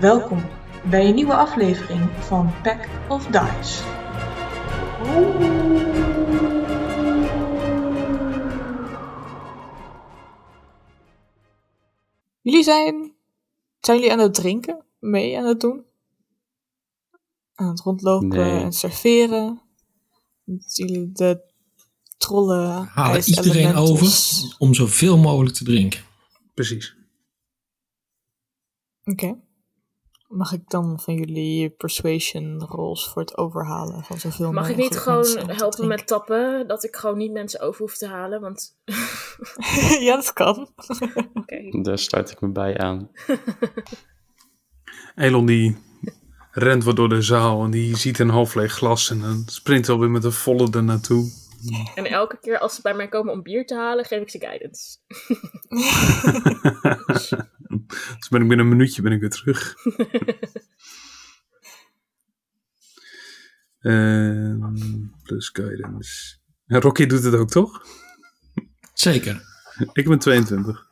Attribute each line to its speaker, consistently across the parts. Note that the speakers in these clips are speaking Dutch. Speaker 1: Welkom bij een nieuwe aflevering van Pack of Dice. Jullie zijn. Zijn jullie aan het drinken? Mee aan het doen? Aan het rondlopen
Speaker 2: Nee.
Speaker 1: en serveren? Dat jullie de trollen.
Speaker 3: halen iedereen over
Speaker 1: ijselementals-
Speaker 3: om zoveel mogelijk te drinken.
Speaker 4: Precies.
Speaker 1: Oké. Mag ik dan van jullie persuasion rolls voor het overhalen van zoveel
Speaker 5: Mag ik
Speaker 1: mogelijk
Speaker 5: niet gewoon
Speaker 1: mensen te
Speaker 5: helpen
Speaker 1: drinken?
Speaker 5: met tappen? Dat ik gewoon niet mensen over hoef te halen, want...
Speaker 1: ja, dat kan.
Speaker 5: Oké.
Speaker 2: Daar sluit ik me bij aan.
Speaker 4: Elon die rent wat door de zaal en die ziet een half leeg glas en dan sprint hij alweer met een volle er naartoe.
Speaker 5: En elke keer als ze bij mij komen om bier te halen, geef ik ze guidance.
Speaker 4: Dus ben ik binnen een minuutje ben ik weer terug. Ehm, plus guidance. Ja, Rocky doet het ook, toch?
Speaker 3: Zeker.
Speaker 4: Ik ben 22.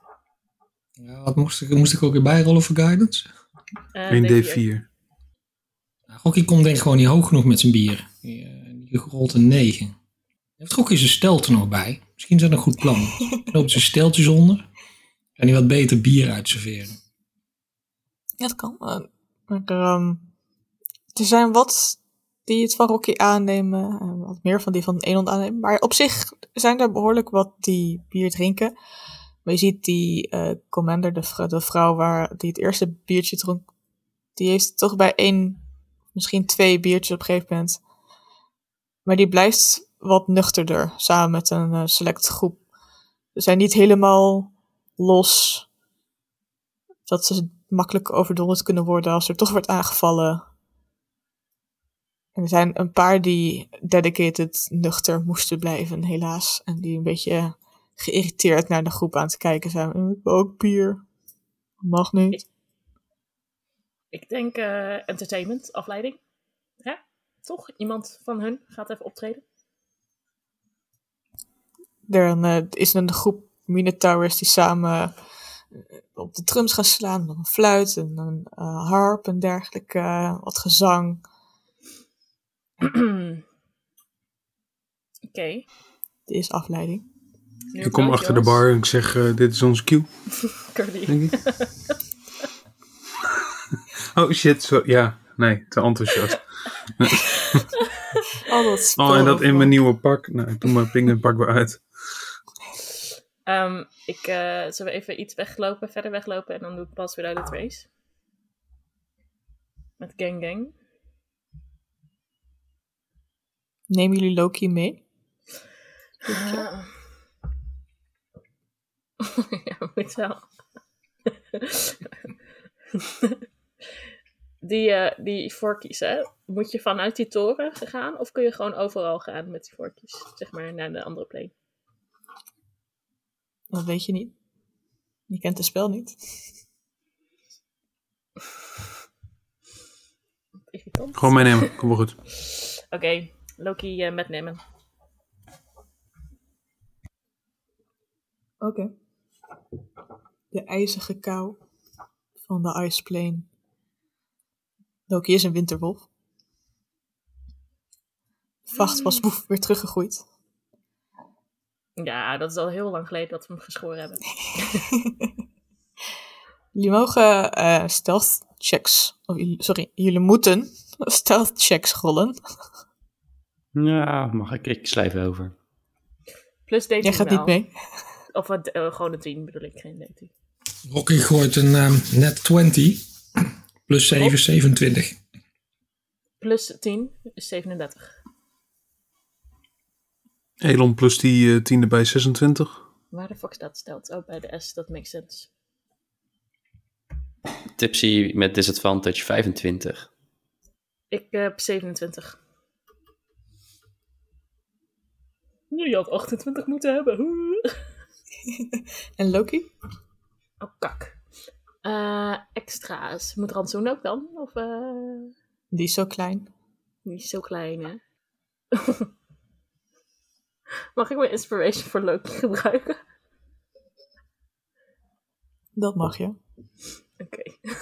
Speaker 3: Ja, wat moest ik, moest ik ook weer bijrollen voor guidance?
Speaker 5: Eh,
Speaker 4: 1d4.
Speaker 3: Nou, Rocky komt denk ik gewoon niet hoog genoeg met zijn bier. Die, eh, die rolt een 9. Heeft Rocky zijn steltje nog bij? Misschien is dat een goed plan. Loopt zijn steltjes onder. En hij wat beter bier uitserveren.
Speaker 1: Ja, dat kan. Eh, Maar, ehm, er zijn wat die het van Rocky aannemen. En wat meer van die van Elon aannemen. Maar op zich zijn er behoorlijk wat die bier drinken. Maar je ziet die eh, commander, de, vrou- de vrouw waar die het eerste biertje dronk. Die heeft toch bij één, misschien twee biertjes op een gegeven moment. Maar die blijft wat nuchterder. Samen met een eh, select groep. Ze zijn niet helemaal los dat ze makkelijk overdonderd kunnen worden als er toch wordt aangevallen. En er zijn een paar die dedicated nuchter moesten blijven, helaas. En die een beetje geïrriteerd naar de groep aan het kijken zijn. "Eh, Ik wil ook bier. Mag niet.
Speaker 5: Ik denk eh, entertainment, afleiding. Hè? Toch? Iemand van hun gaat even optreden.
Speaker 1: Er eh, is een groep Minotaurs die samen eh, op de drums gaan slaan. Met een fluit en een eh, harp en dergelijke. eh, Wat gezang.
Speaker 5: Oké.
Speaker 1: Dit is afleiding.
Speaker 5: nu
Speaker 4: Ik
Speaker 5: ook
Speaker 4: kom
Speaker 5: wel,
Speaker 4: achter de
Speaker 5: Jos.
Speaker 4: bar en ik zeg, eh, dit is onze cue.
Speaker 5: Curly.
Speaker 4: Denk ik. Oh shit, sorry. Ja, nee, te enthousiast.
Speaker 1: Oh, dat spel
Speaker 4: Oh, en dat in
Speaker 1: overal.
Speaker 4: mijn nieuwe pak. Nou, ik doe mijn pinguinpak weer uit.
Speaker 5: Ehm, ik eh zullen we even iets weglopen, verder weglopen en dan doe ik pas weer uit het race. Met gang gang.
Speaker 1: Nemen jullie Loki mee?
Speaker 5: Ja. Ah. ja, moet wel. die, eh die vorkjes, hè? Moet je vanuit die toren gaan of kun je gewoon overal gaan met die vorkjes? Zeg maar naar de andere plane.
Speaker 1: Dat weet je niet. Je kent het spel niet.
Speaker 5: Irritant.
Speaker 4: Gewoon meenemen, kom wel goed.
Speaker 5: Oké, Loki eh, metnemen.
Speaker 1: Oké. De ijzige kou van de Ice Plane. Loki is een winterwolf. Vacht was boef, weer teruggegroeid.
Speaker 5: Ja, dat is al heel lang geleden dat we hem geschoren hebben.
Speaker 1: Jullie mogen eh stealth checks, of jullie- sorry, jullie moeten stealth checks rollen.
Speaker 2: Ja, mag ik? Ik slijf over.
Speaker 5: Plus deze
Speaker 1: Jij gaat niet mee.
Speaker 5: Of wat, eh, gewoon een 10 bedoel ik, geen 19.
Speaker 3: Rocky gooit een ehm, net 20. Plus Dus 7, 27.
Speaker 5: Plus 10 is 37.
Speaker 4: Elon plus die eh, tiende bij 26.
Speaker 5: Waar de fuck staat stelt? Oh, bij de S, dat makes sense.
Speaker 2: Tipsy met disadvantage 25.
Speaker 5: Ik eh, heb 27. Nu je had 28 moeten hebben. Hoe?
Speaker 1: En Loki?
Speaker 5: Oh, kak. Eh, extra's. Moet rantsoen ook dan? Of eh,
Speaker 1: Die is zo klein.
Speaker 5: niet zo klein, hè? Mag ik mijn inspiration voor Loki gebruiken?
Speaker 1: Dat mag je.
Speaker 5: Oké.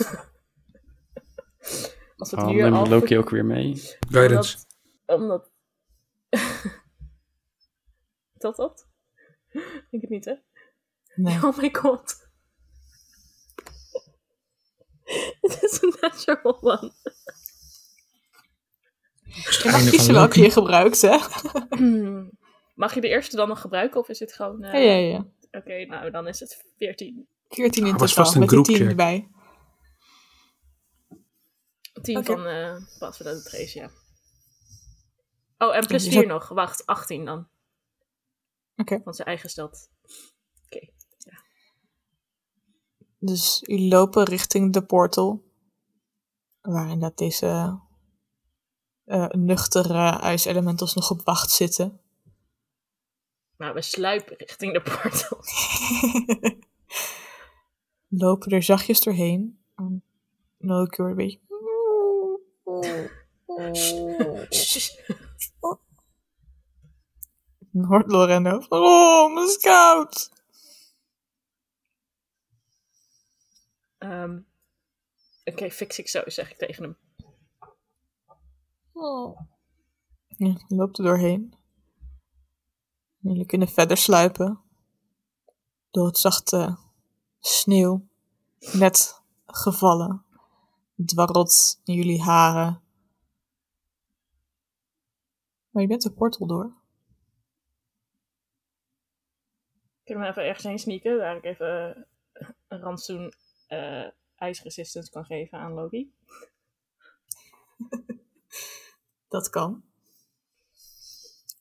Speaker 5: Als we het
Speaker 2: Waarom
Speaker 5: nu al
Speaker 2: neemt Oh, Loki
Speaker 5: voor-
Speaker 2: ook weer mee?
Speaker 4: Guidance.
Speaker 5: Omdat. omdat... dat dat? Ik denk het niet, hè?
Speaker 1: Nee.
Speaker 5: Oh my god. Het is een natural one.
Speaker 3: Is het
Speaker 1: Je mag
Speaker 3: einde van
Speaker 1: kiezen welke
Speaker 3: Loki?
Speaker 1: je gebruikt, hè?
Speaker 5: Mag je de eerste dan nog gebruiken of is dit gewoon... eh,
Speaker 1: Ja, ja, ja.
Speaker 5: Oké, nou dan is het 14.
Speaker 1: 14 in
Speaker 4: Ah, was
Speaker 1: totaal,
Speaker 4: vast een
Speaker 1: met die 10
Speaker 4: groepcheck.
Speaker 1: erbij.
Speaker 5: 10
Speaker 1: Oké.
Speaker 5: van eh Pass Without a Trace, ja. Oh, en plus
Speaker 1: Ja,
Speaker 5: 4
Speaker 1: dus dat-
Speaker 5: nog. Wacht, 18 dan.
Speaker 1: Oké.
Speaker 5: Van zijn eigen stad. Oké.
Speaker 1: Dus jullie lopen richting de portal. Waar inderdaad deze eh, nuchtere ijselementals nog op wacht zitten.
Speaker 5: Nou, we sluipen richting de portal.
Speaker 1: lopen er zachtjes doorheen. En Loki wordt een beetje... En hoort Lorendo van, Oh, het is koud!
Speaker 5: Ehm, Oké, fix ik zo, zeg ik tegen hem.
Speaker 1: Ja, loopt er doorheen. En jullie kunnen verder sluipen. Door het zachte sneeuw. Net gevallen. Dwarrelt in jullie haren. Maar je bent de portal door.
Speaker 5: Kunnen we even ergens heen sneaken, waar ik even eh, een rantsoen eh ice resistance kan geven aan Loki?
Speaker 1: Dat kan.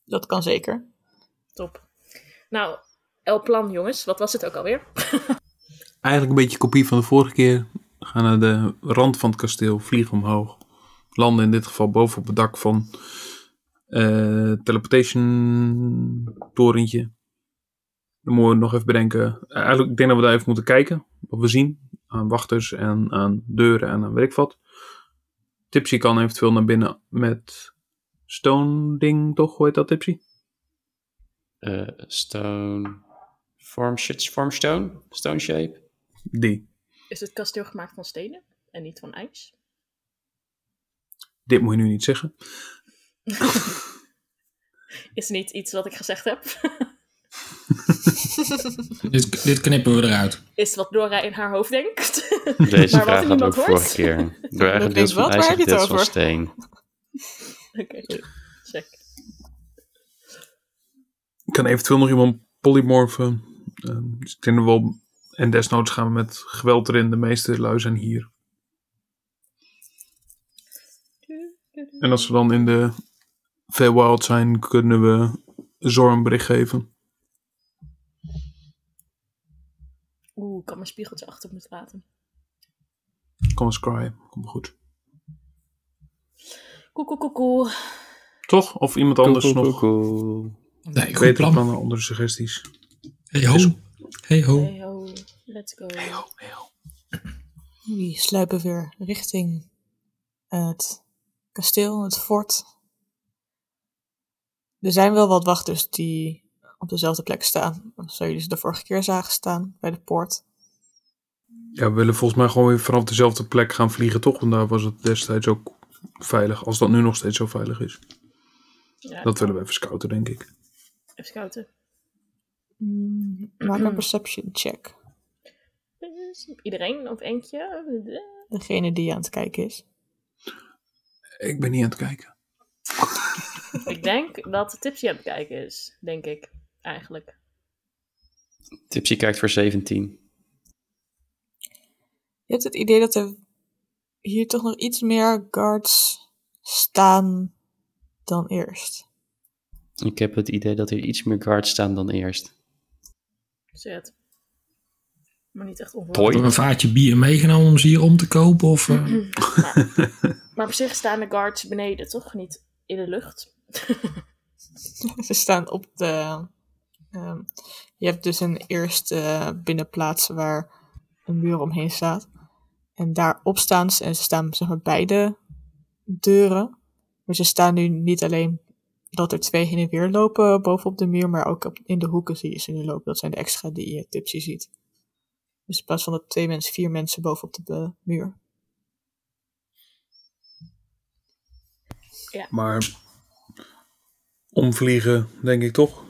Speaker 1: Dat kan zeker.
Speaker 5: Top. Nou, El Plan, jongens. Wat was het ook alweer?
Speaker 4: Eigenlijk een beetje kopie van de vorige keer. We gaan naar de rand van het kasteel, vliegen omhoog. Landen in dit geval boven op het dak van eh teleportation torentje. Dan moeten we nog even bedenken. eh, Eigenlijk, ik denk dat we daar even moeten kijken. Wat we zien aan wachters en aan deuren en aan werkvat. Tipsy kan eventueel naar binnen met stone ding, toch? Hoe heet dat, Tipsy?
Speaker 2: Eh, stone. Form, shit- form stone? Stone shape?
Speaker 4: Die.
Speaker 5: Is het kasteel gemaakt van stenen en niet van ijs?
Speaker 4: Dit moet je nu niet zeggen.
Speaker 5: Is niet iets wat ik gezegd heb?
Speaker 3: Dit, dit knippen we eruit.
Speaker 5: Is wat Dora in haar hoofd denkt?
Speaker 2: Deze
Speaker 5: Maar wat
Speaker 2: vraag hadden we
Speaker 5: niemand
Speaker 2: ook
Speaker 5: hoort.
Speaker 2: vorige keer. Door eigen
Speaker 1: weet
Speaker 2: deels van
Speaker 1: wat, waar
Speaker 2: ijs en
Speaker 1: heb je het
Speaker 2: deels van
Speaker 1: over?
Speaker 2: steen.
Speaker 5: Oké, check.
Speaker 4: kan eventueel nog iemand polymorfen. Ehm, dus ik denk dat we wel- en desnoods gaan we met geweld erin. De meeste lui zijn hier. En als we dan in de Feywild zijn, kunnen we Zor een bericht geven.
Speaker 5: Oeh, ik kan mijn spiegeltje achter moeten laten.
Speaker 4: Kom eens cry. Kom goed.
Speaker 5: Koe, koe, koe, koe.
Speaker 4: Toch? Of iemand anders
Speaker 2: Koekoe,
Speaker 4: nog
Speaker 2: koekoe.
Speaker 3: Nee, goed
Speaker 4: beter
Speaker 3: plan.
Speaker 4: dan andere suggesties.
Speaker 3: Hey ho. Hey ho.
Speaker 5: Hey ho, let's go.
Speaker 1: Jullie sluipen weer richting eh, het kasteel, het fort. Er zijn wel wat wachters die op dezelfde plek staan. Zoals jullie ze de vorige keer zagen staan bij de poort.
Speaker 4: Ja, we willen volgens mij gewoon weer vanaf dezelfde plek gaan vliegen, toch? Want daar was het destijds ook veilig. Als dat nu nog steeds zo veilig is.
Speaker 5: Ja,
Speaker 4: Dat willen we even scouten, denk ik.
Speaker 5: even scouten.
Speaker 1: Mm, maak een perception check.
Speaker 5: Dus Iedereen of eentje?
Speaker 1: Degene die aan het kijken is.
Speaker 4: Ik ben niet aan het kijken.
Speaker 5: Ik denk dat Tipsy aan het kijken is, denk ik, eigenlijk.
Speaker 2: Tipsy kijkt voor 17.
Speaker 1: Je hebt het idee dat er hier toch nog iets meer guards staan dan eerst.
Speaker 2: Ik heb het idee dat er iets meer guards staan dan eerst.
Speaker 5: Zet. Maar niet echt
Speaker 2: Boy.
Speaker 5: onvoorzichtig.
Speaker 3: Hebben we een vaatje bier meegenomen om ze hier om te kopen? Of, eh,
Speaker 5: Maar op zich staan de guards beneden, toch? Niet in de lucht.
Speaker 1: Ze staan op de. ehm, je hebt dus een eerste eh, binnenplaats waar een muur omheen staat. En daarop staan ze, en ze staan zeg maar bij de deuren. Maar ze staan nu niet alleen dat er twee heen en weer lopen bovenop de muur, maar ook op, in de hoeken zie je ze nu lopen. Dat zijn de extra die je tipsy ziet. Dus in plaats van dat twee mensen, vier mensen bovenop de eh, muur.
Speaker 4: Maar omvliegen, denk ik toch.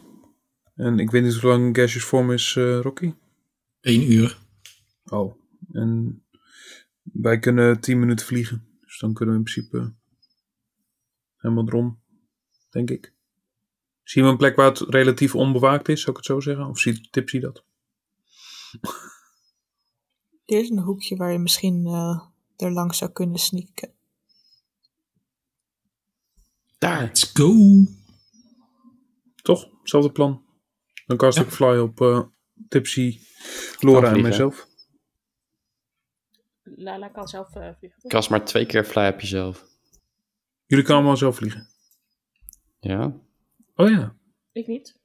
Speaker 4: En ik weet niet hoe lang Gash's vorm is, eh, Rocky.
Speaker 3: Eén uur.
Speaker 4: Oh. En wij kunnen 10 minuten vliegen. Dus dan kunnen we in principe helemaal erom, denk ik. Zien we een plek waar het relatief onbewaakt is, zou ik het zo zeggen? Of ziet Tipsy dat?
Speaker 1: Er is een hoekje waar je misschien eh, er langs zou kunnen sneaken.
Speaker 2: Daar.
Speaker 3: Let's go.
Speaker 4: Toch? Hetzelfde plan. Dan cast ik fly op eh, Tipsy, Laura en
Speaker 2: vliegen.
Speaker 4: mijzelf.
Speaker 5: Lala kan zelf eh, vliegen. toch?
Speaker 2: Kast maar twee keer fly op jezelf.
Speaker 4: Jullie kunnen allemaal zelf vliegen.
Speaker 2: Ja?
Speaker 4: Oh ja,
Speaker 5: Ik niet.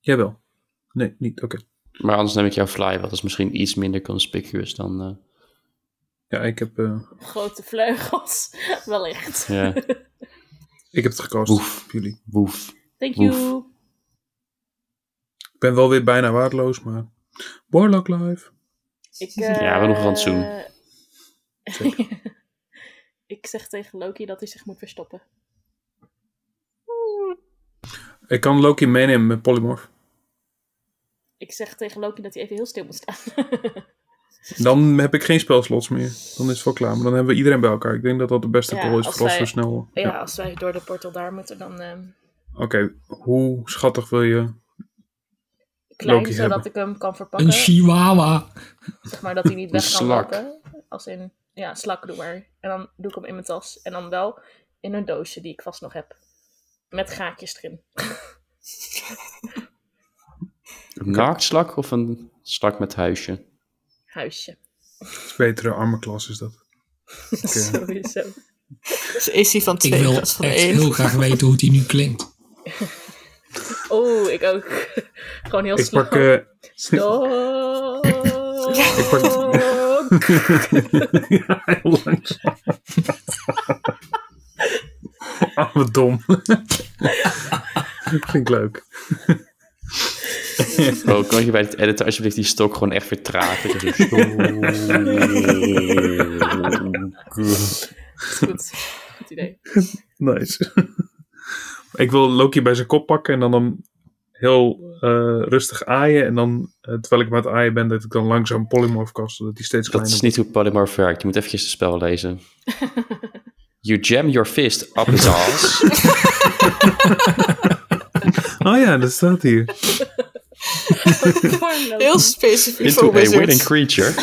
Speaker 4: jij wel. Nee, niet. Oké.
Speaker 2: Maar anders neem ik jouw fly, want dat is misschien iets minder conspicuous dan... eh,
Speaker 4: Ja, ik heb, eh,
Speaker 5: Grote vleugels, wellicht.
Speaker 2: Ja.
Speaker 4: ik heb het gecast
Speaker 2: Oef.
Speaker 4: op jullie.
Speaker 2: woef.
Speaker 5: Thank you.
Speaker 2: Oef.
Speaker 4: Ik ben wel weer bijna waardeloos, maar... Warlock Live.
Speaker 5: Ik,
Speaker 2: Ja, we hebben nog
Speaker 5: eh,
Speaker 2: een rantsoen.
Speaker 5: ik zeg tegen Loki dat hij zich moet verstoppen.
Speaker 4: Ik kan Loki meenemen met Polymorph.
Speaker 5: Ik zeg tegen Loki dat hij even heel stil moet staan.
Speaker 4: Dan heb ik geen spelslots meer. Dan is het wel klaar. Maar dan hebben we iedereen bij elkaar. Ik denk dat dat de beste
Speaker 5: Ja,
Speaker 4: pool is
Speaker 5: als
Speaker 4: voor ons
Speaker 5: wij-
Speaker 4: zo snel.
Speaker 5: ja,
Speaker 4: Ja.
Speaker 5: als wij door de portal daar moeten, dan ehm,
Speaker 4: Oké, hoe schattig wil je...
Speaker 5: klein,
Speaker 4: Loki
Speaker 5: zodat
Speaker 4: hebben.
Speaker 5: ik hem kan verpakken.
Speaker 3: Een chihuahua.
Speaker 5: Zeg maar dat hij niet weg
Speaker 2: Een
Speaker 5: kan
Speaker 2: slak.
Speaker 5: lopen. Als in, ja, slak doe maar. En dan doe ik hem in mijn tas. En dan wel in een doosje die ik vast nog heb. Met gaatjes erin.
Speaker 2: Een naaktslak of een slak met huisje?
Speaker 5: Huisje.
Speaker 4: Iets betere armenklas is dat.
Speaker 5: Sowieso.
Speaker 1: Dus is die van
Speaker 3: Ik
Speaker 1: twee in
Speaker 3: wil
Speaker 1: plaats
Speaker 3: echt
Speaker 1: van één.
Speaker 3: heel graag weten hoe die nu klinkt.
Speaker 5: Oh, ik ook. Gewoon heel
Speaker 4: Ik
Speaker 5: slak.
Speaker 4: pak... eh,
Speaker 5: Stok.
Speaker 4: ja, heel langzaam. Ah, wat dom. Vind ik leuk.
Speaker 2: Bro, Oh, kan je bij het editen alsjeblieft die stok gewoon echt vertragen? Dat is-
Speaker 5: Goed. Goed idee.
Speaker 4: Nice. ik wil Loki bij zijn kop pakken en dan hem heel eh, rustig aaien. En dan, eh, terwijl ik met aaien ben, dat ik dan langzaam polymorph kast, zodat hij steeds
Speaker 2: Dat
Speaker 4: kleiner
Speaker 2: is niet hoe Polymorph werkt. Je moet eventjes het spel lezen. You jam your fist up his ass.
Speaker 4: wordt. Oh ja, dat staat hier.
Speaker 5: Voor Loki.
Speaker 1: Heel specifiek
Speaker 2: Into
Speaker 1: voor
Speaker 2: a winning
Speaker 1: wizards.
Speaker 2: creature.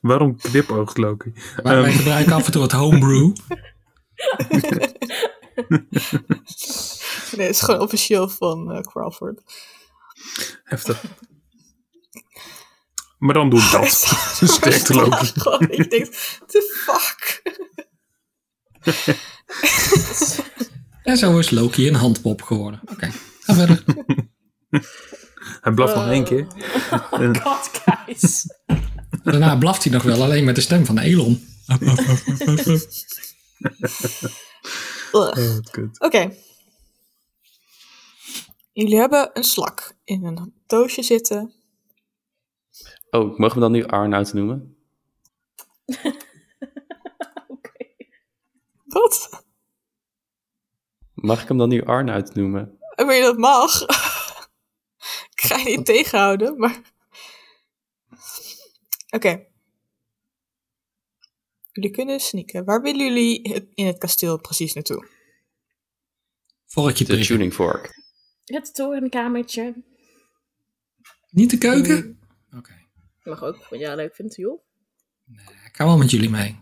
Speaker 4: Waarom knipoogt Loki?
Speaker 3: Maar wij
Speaker 4: Ehm,
Speaker 3: gebruiken af en toe het homebrew.
Speaker 1: Nee, het is gewoon officieel van eh, Crawford.
Speaker 4: heftig. Maar dan doe ik dat. Sterkte Loki.
Speaker 1: Gewoon, ik denk, the fuck?
Speaker 3: En zo is Loki een handpop geworden. Oké, ga verder.
Speaker 4: Hij blaft nog één keer.
Speaker 5: God, guys.
Speaker 3: Daarna blaft hij nog wel, alleen met de stem van Elon.
Speaker 1: Ugh.
Speaker 4: Oh, wat kut.
Speaker 1: Oké. Jullie hebben een slak in een doosje zitten.
Speaker 2: Oh, mogen we dan nu Arnoud noemen?
Speaker 5: Oké.
Speaker 1: Wat?
Speaker 2: Mag ik hem dan nu Arnoud noemen?
Speaker 1: Ik weet niet dat mag. ik ga je niet tegenhouden, maar... Oké. Jullie kunnen sneaken. Waar willen jullie het- in het kasteel precies naartoe?
Speaker 3: Vorkje
Speaker 2: De
Speaker 3: prikken.
Speaker 2: tuning fork.
Speaker 5: Het torenkamertje.
Speaker 3: Niet de keuken? Oké.
Speaker 5: Mag ook, wat jij leuk vindt, joh.
Speaker 3: Ik ga wel met jullie mee.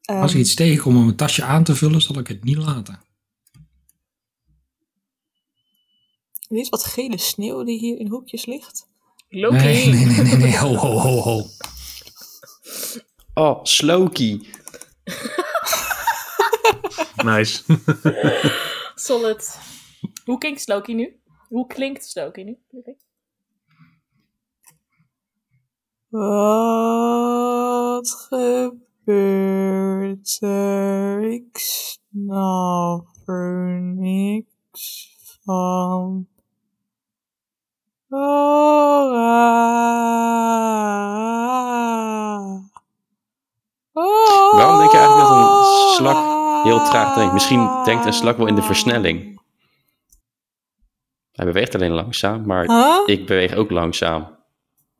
Speaker 1: Ehm,
Speaker 3: Als ik iets tegenkom om mijn tasje aan te vullen, zal ik het niet laten.
Speaker 1: Er is wat gele sneeuw die hier in hoekjes ligt.
Speaker 5: Loki.
Speaker 3: Nee, nee, nee, nee, nee. Ho, ho, ho, ho.
Speaker 2: Oh, Sloki.
Speaker 4: Nice.
Speaker 5: Solid. Hoe klinkt Loki nu? Hoe klinkt Loki nu?
Speaker 1: Wat gebeurt er? Ik snap er niks van. Ora.
Speaker 2: slak heel traag denkt. Misschien denkt een slak wel in de versnelling. Hij beweegt alleen langzaam, maar
Speaker 1: Huh?
Speaker 2: ik beweeg ook langzaam.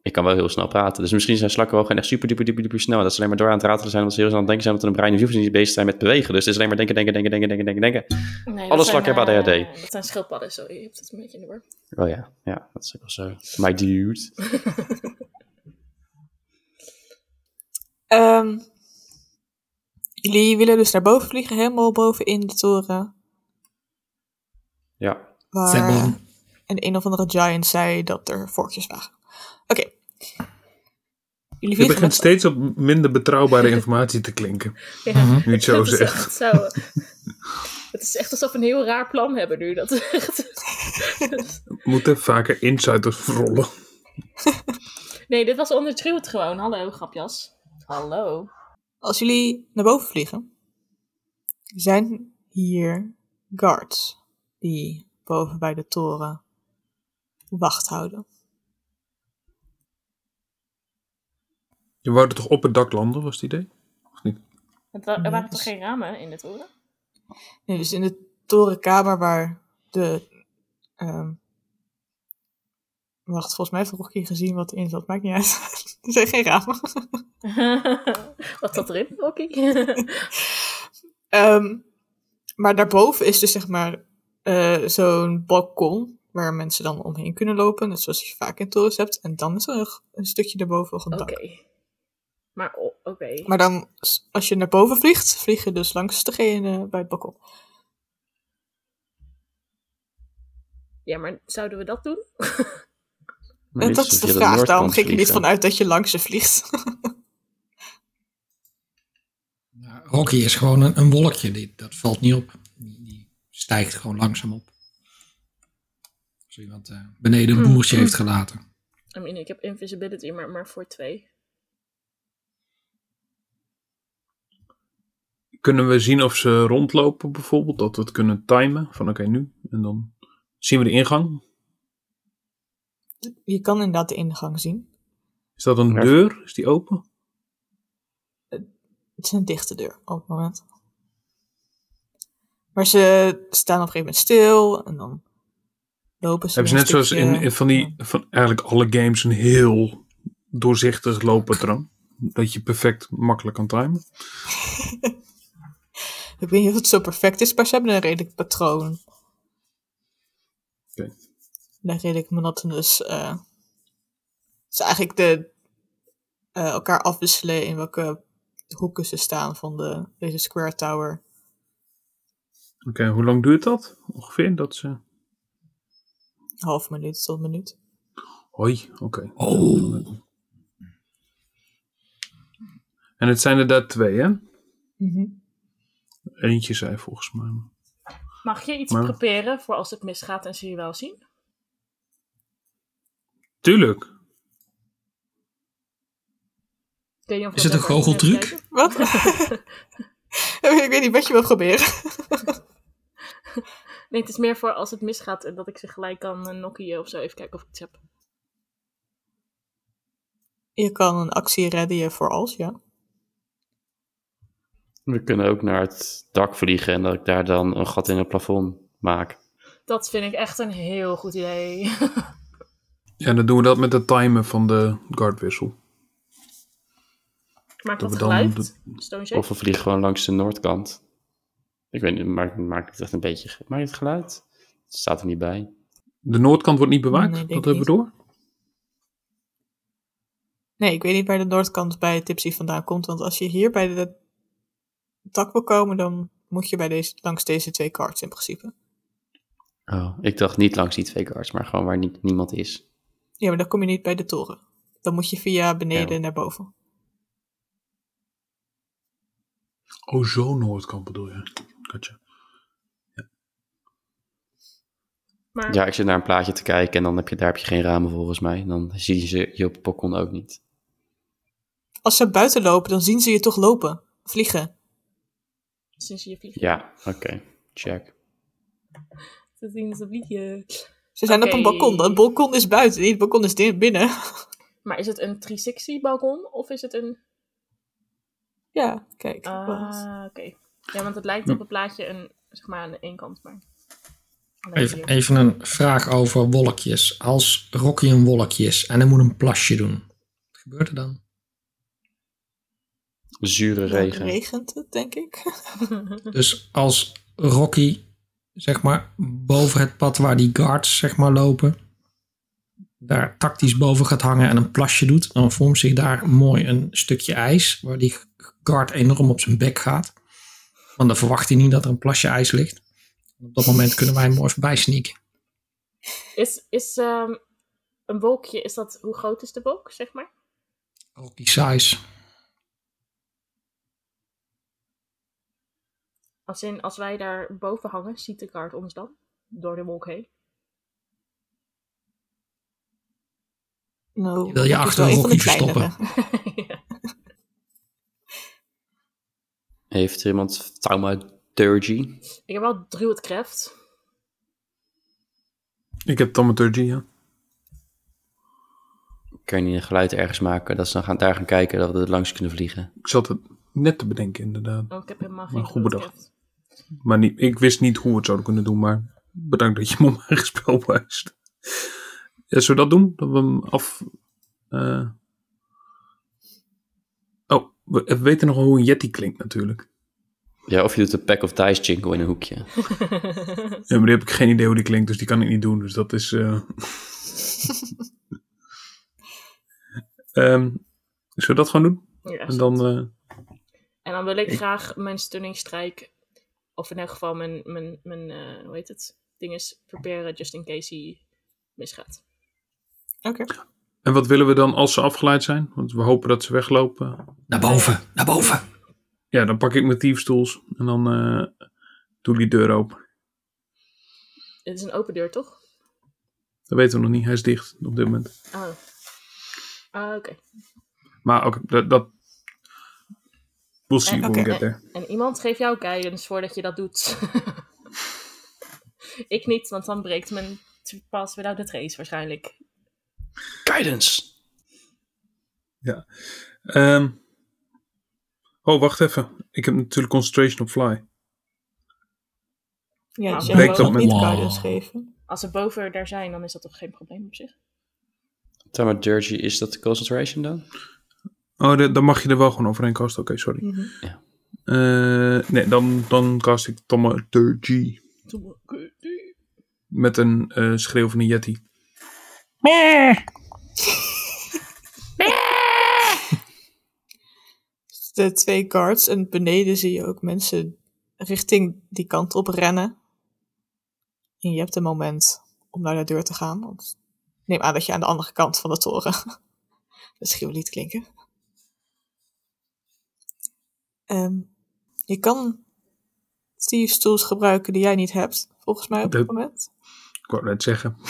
Speaker 2: Ik kan wel heel snel praten. Dus misschien zijn slakken wel gewoon echt super duper duper duper snel. Dat ze alleen maar door aan het ratelen zijn, omdat ze heel snel aan het denken zijn, omdat hun brein en niet bezig zijn met bewegen. Dus het is alleen maar denken, denken, denken, denken, denken, denken, denken.
Speaker 5: Nee,
Speaker 2: Alle
Speaker 5: dat zijn,
Speaker 2: slakken hebben
Speaker 5: eh,
Speaker 2: ADHD.
Speaker 5: Dat zijn schildpadden, sorry. Je hebt het een beetje in de war.
Speaker 2: Oh ja, ja, dat is ook wel zo. My dude.
Speaker 1: Ehm, jullie willen dus naar boven vliegen, helemaal boven in de toren.
Speaker 2: Ja,
Speaker 1: Waar
Speaker 3: Zeppelin.
Speaker 1: een een of andere giant zei dat er vorkjes waren. Oké. Jullie
Speaker 4: Je
Speaker 1: vliegen
Speaker 4: begint
Speaker 1: met-
Speaker 4: steeds op minder betrouwbare informatie te klinken.
Speaker 5: Ja,
Speaker 3: Mhm.
Speaker 4: Nu het zo
Speaker 5: dat is
Speaker 4: zegt.
Speaker 5: echt zo. het is echt alsof we een heel raar plan hebben nu. Dat is echt...
Speaker 4: We moeten vaker insiders rollen.
Speaker 5: Nee, dit was onderdruwd gewoon. Hallo, grapjas. Hallo.
Speaker 1: Als jullie naar boven vliegen, zijn hier guards die boven bij de toren wacht houden.
Speaker 4: Je wou er toch op het dak landen, was het idee?
Speaker 5: Het wa- er
Speaker 1: Nee,
Speaker 5: waren
Speaker 1: dus-
Speaker 5: toch geen ramen in de toren?
Speaker 1: Nee, dus in de torenkamer waar de. ehm, wacht, volgens mij heeft Rocky gezien wat erin zat. Maakt niet uit. er zijn geen ramen.
Speaker 5: Wat zat erin, Rocky?
Speaker 1: Ehm, maar daarboven is dus zeg maar eh, zo'n balkon waar mensen dan omheen kunnen lopen. Net zoals je vaak in torens hebt. En dan is er een, een stukje daarboven nog een
Speaker 5: Oké.
Speaker 1: dak.
Speaker 5: Maar o- oké.
Speaker 1: Maar dan, s- als je naar boven vliegt, vlieg je dus langs degene bij het balkon.
Speaker 5: Ja, maar zouden we dat doen?
Speaker 2: Maar
Speaker 1: en
Speaker 2: dit
Speaker 1: dat is
Speaker 2: alsof
Speaker 1: de
Speaker 2: je de
Speaker 1: vraag, daarom
Speaker 2: noordkant
Speaker 1: ging ik er niet
Speaker 2: vliegt, hè?
Speaker 1: vanuit dat je langs ze vliegt.
Speaker 3: Ja, Nou, Rocky is gewoon een, een wolkje. Die, dat valt niet op. Die, die stijgt gewoon langzaam op. Als iemand eh, beneden een
Speaker 5: Mm.
Speaker 3: boertje heeft gelaten.
Speaker 5: I mean, ik heb invisibility, maar, maar voor twee.
Speaker 4: Kunnen we zien of ze rondlopen bijvoorbeeld? Dat we het kunnen timen van oké nu. En dan zien we de ingang.
Speaker 1: je kan inderdaad de ingang zien.
Speaker 4: Is dat een
Speaker 2: Ja.
Speaker 4: deur? Is die open?
Speaker 1: Het is een dichte deur op het moment. Maar ze staan op een gegeven moment stil en dan lopen ze.
Speaker 4: Hebben ze
Speaker 1: een
Speaker 4: net zoals in,
Speaker 1: stukje.
Speaker 4: in van die van eigenlijk alle games een heel doorzichtig looppatroon. Dat je perfect makkelijk kan timen.
Speaker 1: Ik weet niet of het zo perfect is, maar ze hebben een redelijk patroon.
Speaker 4: Oké.
Speaker 1: Een redelijk monotonous. eh het is eigenlijk de, eh, elkaar afwisselen in welke hoeken ze staan van de, deze Square Tower.
Speaker 4: Oké, hoe lang duurt dat ongeveer? Dat ze...
Speaker 1: Half minuut tot een minuut.
Speaker 4: Hoi, oké.
Speaker 3: Oh.
Speaker 4: En het zijn er daar twee hè?
Speaker 1: Mhm.
Speaker 4: Eentje zei volgens mij.
Speaker 5: Mag je iets
Speaker 4: Maar-
Speaker 5: prepareren voor als het misgaat en ze je wel zien?
Speaker 4: Tuurlijk.
Speaker 5: Ik weet niet of
Speaker 3: Is
Speaker 5: dat
Speaker 3: het een
Speaker 5: lekker
Speaker 3: goocheltruc?
Speaker 5: is.
Speaker 1: Wat? ik weet niet wat je wil proberen.
Speaker 5: Nee, het is meer voor als het misgaat en dat ik ze gelijk kan eh, nokken of zo. Even kijken of ik iets heb.
Speaker 1: Je kan een actie redden voor als, ja.
Speaker 2: We kunnen ook naar het dak vliegen en dat ik daar dan een gat in het plafond maak.
Speaker 5: Dat vind ik echt een heel goed idee.
Speaker 4: Ja, dan doen we dat met het timen van de guardwissel.
Speaker 5: Maakt dat
Speaker 4: we dan
Speaker 5: geluid? Stone Shake?
Speaker 2: Of we vliegen gewoon langs de noordkant. Ik weet niet, maakt, maakt het echt een beetje... ge- Maakt het geluid? Het staat er niet bij.
Speaker 4: De noordkant wordt niet bewaakt,
Speaker 1: Nee, denk
Speaker 4: dat hebben we
Speaker 1: niet.
Speaker 4: door.
Speaker 1: Nee, ik weet niet waar de noordkant bij Tipsy vandaan komt. Want als je hier bij de dak wil komen, dan moet je bij deze, langs deze twee cards in principe.
Speaker 2: Oh, ik dacht niet langs die twee guards, maar gewoon waar niet, niemand is.
Speaker 1: Ja, maar dan kom je niet bij de toren. Dan moet je via beneden
Speaker 2: Ja.
Speaker 1: naar boven.
Speaker 4: Oh, zo noordkant bedoel je. Gotcha.
Speaker 5: Maar
Speaker 2: Ja, ik zit naar een plaatje te kijken en dan heb je, daar heb je geen ramen volgens mij. En dan zie je ze je op het balkon ook niet.
Speaker 1: Als ze buiten lopen, dan zien ze je toch lopen. Vliegen.
Speaker 5: sinds je vliegt,
Speaker 2: Ja, oké. Check.
Speaker 5: te zien ze vliegen.
Speaker 1: Ze zijn op
Speaker 5: Oké.
Speaker 1: een balkon. Dat balkon is buiten, niet het balkon is di- binnen.
Speaker 5: Maar is het een 360 balkon of is het een...
Speaker 1: ja, kijk.
Speaker 5: Ah,
Speaker 1: wacht.
Speaker 5: oké. Ja, want het lijkt op een plaatje een, zeg maar aan de één kant, maar... alleen
Speaker 3: Even,
Speaker 5: hier.
Speaker 3: even een vraag over wolkjes. Als Rocky een wolkje is en hij moet een plasje doen, wat gebeurt er dan?
Speaker 2: Zure
Speaker 1: Dan
Speaker 2: regen.
Speaker 1: regent het, denk ik.
Speaker 3: Dus als Rocky, zeg maar, boven het pad waar die guards, zeg maar, lopen, daar tactisch boven gaat hangen en een plasje doet, dan vormt zich daar mooi een stukje ijs, waar die guard enorm op zijn bek gaat. Want dan verwacht hij niet dat er een plasje ijs ligt. Op dat moment kunnen wij hem mooi voorbij sneaken.
Speaker 5: Is, is ehm, een wolkje, is dat, hoe groot is de wolk, zeg maar?
Speaker 3: Rocky size.
Speaker 5: Als in, als wij daar boven hangen, ziet de kaart ons dan? Door de wolk heen?
Speaker 1: Nou,
Speaker 3: Wil je
Speaker 1: dat is
Speaker 3: achter
Speaker 1: wel
Speaker 3: een
Speaker 1: van de
Speaker 3: Rocky
Speaker 1: kleinere.
Speaker 5: Ja.
Speaker 2: Heeft er iemand taumaturgy?
Speaker 5: Ik heb wel druw het kreft.
Speaker 4: Ik heb Thaumaturgy, ja.
Speaker 2: Kan je niet een geluid ergens maken dat ze dan gaan, daar gaan kijken dat we er langs kunnen vliegen?
Speaker 4: Ik zat het net te bedenken, inderdaad.
Speaker 5: Oh, ik heb helemaal geen
Speaker 4: Maar goed
Speaker 5: druw het
Speaker 4: bedacht.
Speaker 5: kreft.
Speaker 4: Maar niet, ik wist niet hoe we het zouden kunnen doen, maar bedankt dat je me op mijn spel wijst. Ja, zullen we dat doen? Dat we hem af... eh, Oh, we, we weten nog wel hoe een Yeti klinkt natuurlijk.
Speaker 2: Ja, of je doet een pack of dice jingle in een hoekje.
Speaker 4: Ja, maar die heb ik geen idee hoe die klinkt, dus die kan ik niet doen. Dus dat is. eh Ehm, zullen we dat gewoon doen?
Speaker 5: Ja,
Speaker 4: En dan. eh,
Speaker 5: En dan wil ik graag mijn stunning strike, of in elk geval mijn, mijn, mijn eh, hoe heet het, ding is preparen just in case hij misgaat.
Speaker 1: Oké.
Speaker 4: en wat willen we dan als ze afgeleid zijn? Want we hopen dat ze weglopen.
Speaker 3: Naar boven, naar boven.
Speaker 4: Ja, dan pak ik mijn tiefstoels en dan eh, doe die deur open.
Speaker 5: Het is een open deur, toch?
Speaker 4: Dat weten we nog niet, hij is dicht op dit moment.
Speaker 5: Oh. Ah, oké.
Speaker 4: Maar oké, dat, dat. We'll see when we
Speaker 1: Eh, Oké.
Speaker 4: get there.
Speaker 5: En iemand geeft jou guidance voordat je dat doet. ik niet, want dan breekt mijn t- pass without the trace waarschijnlijk.
Speaker 2: Guidance!
Speaker 4: Ehm, oh, wacht even. Ik heb natuurlijk concentration op fly.
Speaker 1: Ja, dus
Speaker 3: Ah.
Speaker 5: Nou,
Speaker 1: jij
Speaker 4: breekt
Speaker 1: wil
Speaker 4: op
Speaker 1: niet
Speaker 3: met-
Speaker 1: guidance
Speaker 3: Wow.
Speaker 1: geven.
Speaker 5: Als ze boven daar zijn, dan is dat toch geen probleem op zich?
Speaker 2: Taumaturgy, is dat de concentration dan?
Speaker 4: Oh, de- dan mag je er wel gewoon overheen casten. Oké, sorry.
Speaker 1: Mhm.
Speaker 4: Eh, nee, dan, dan cast ik Thaumaturgy met een eh, schreeuw van een yeti.
Speaker 1: De twee guards en beneden zie je ook mensen richting die kant op rennen. En je hebt een moment om naar de deur te gaan. Want ik neem aan dat je aan de andere kant van de toren de schreeuw liet klinken. Ehm, je kan Steve's tools gebruiken die jij niet hebt, volgens mij op dit
Speaker 4: Dat-
Speaker 1: moment.
Speaker 4: Ik wou net zeggen.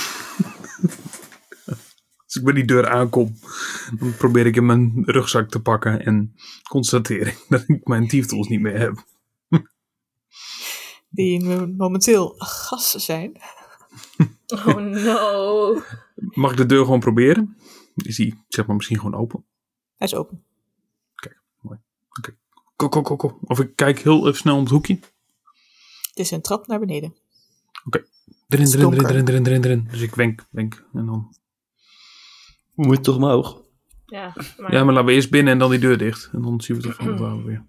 Speaker 4: Als ik bij die deur aankom, dan probeer ik in mijn rugzak te pakken en constateer ik dat ik mijn tieftools niet meer heb.
Speaker 1: die mo- momenteel gasten zijn.
Speaker 5: Oh no.
Speaker 4: Mag ik de deur gewoon proberen? Is die, zeg maar, misschien gewoon open?
Speaker 1: Hij is open.
Speaker 4: Ko, ko, ko, ko. Of ik kijk heel even snel om het hoekje.
Speaker 1: Het is een trap naar beneden.
Speaker 4: Erin,
Speaker 1: Het is
Speaker 4: erin, erin,
Speaker 1: donker.
Speaker 4: erin, erin, erin, erin. Dus ik wenk, wenk. En dan...
Speaker 2: Moet toch omhoog? Oké.
Speaker 5: Ja, maar...
Speaker 4: Ja, maar laten we eerst binnen en dan die deur dicht. En dan zien we het vanaf wel weer.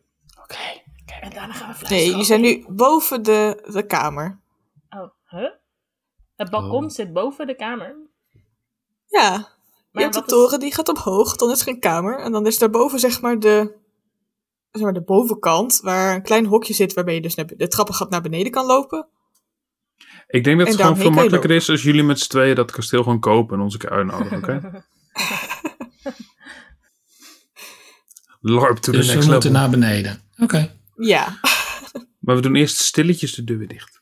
Speaker 5: En daarna gaan we fluisteren.
Speaker 1: Nee, jullie zijn nu boven de, de kamer.
Speaker 5: Oh, huh? Het balkon
Speaker 2: Oh.
Speaker 5: zit boven de kamer.
Speaker 1: Ja, je
Speaker 5: Maar
Speaker 1: hebt de
Speaker 5: wat
Speaker 1: toren, die gaat omhoog, dan is er een kamer. En dan is daarboven zeg maar de, zeg maar de bovenkant, waar een klein hokje zit waarmee je dus naar, de trappen gaat naar beneden kan lopen.
Speaker 4: Ik denk dat
Speaker 1: En
Speaker 4: het gewoon
Speaker 1: daarmee
Speaker 4: veel
Speaker 1: kan je
Speaker 4: makkelijker is als jullie met z'n tweeën dat kasteel gewoon kopen en onze keer uitnodigen, oké? LARP to
Speaker 3: Dus
Speaker 4: the
Speaker 3: we
Speaker 4: next
Speaker 3: moeten
Speaker 4: level.
Speaker 3: naar beneden. Oké.
Speaker 1: Ja,
Speaker 4: Maar we doen eerst stilletjes de deur weer dicht.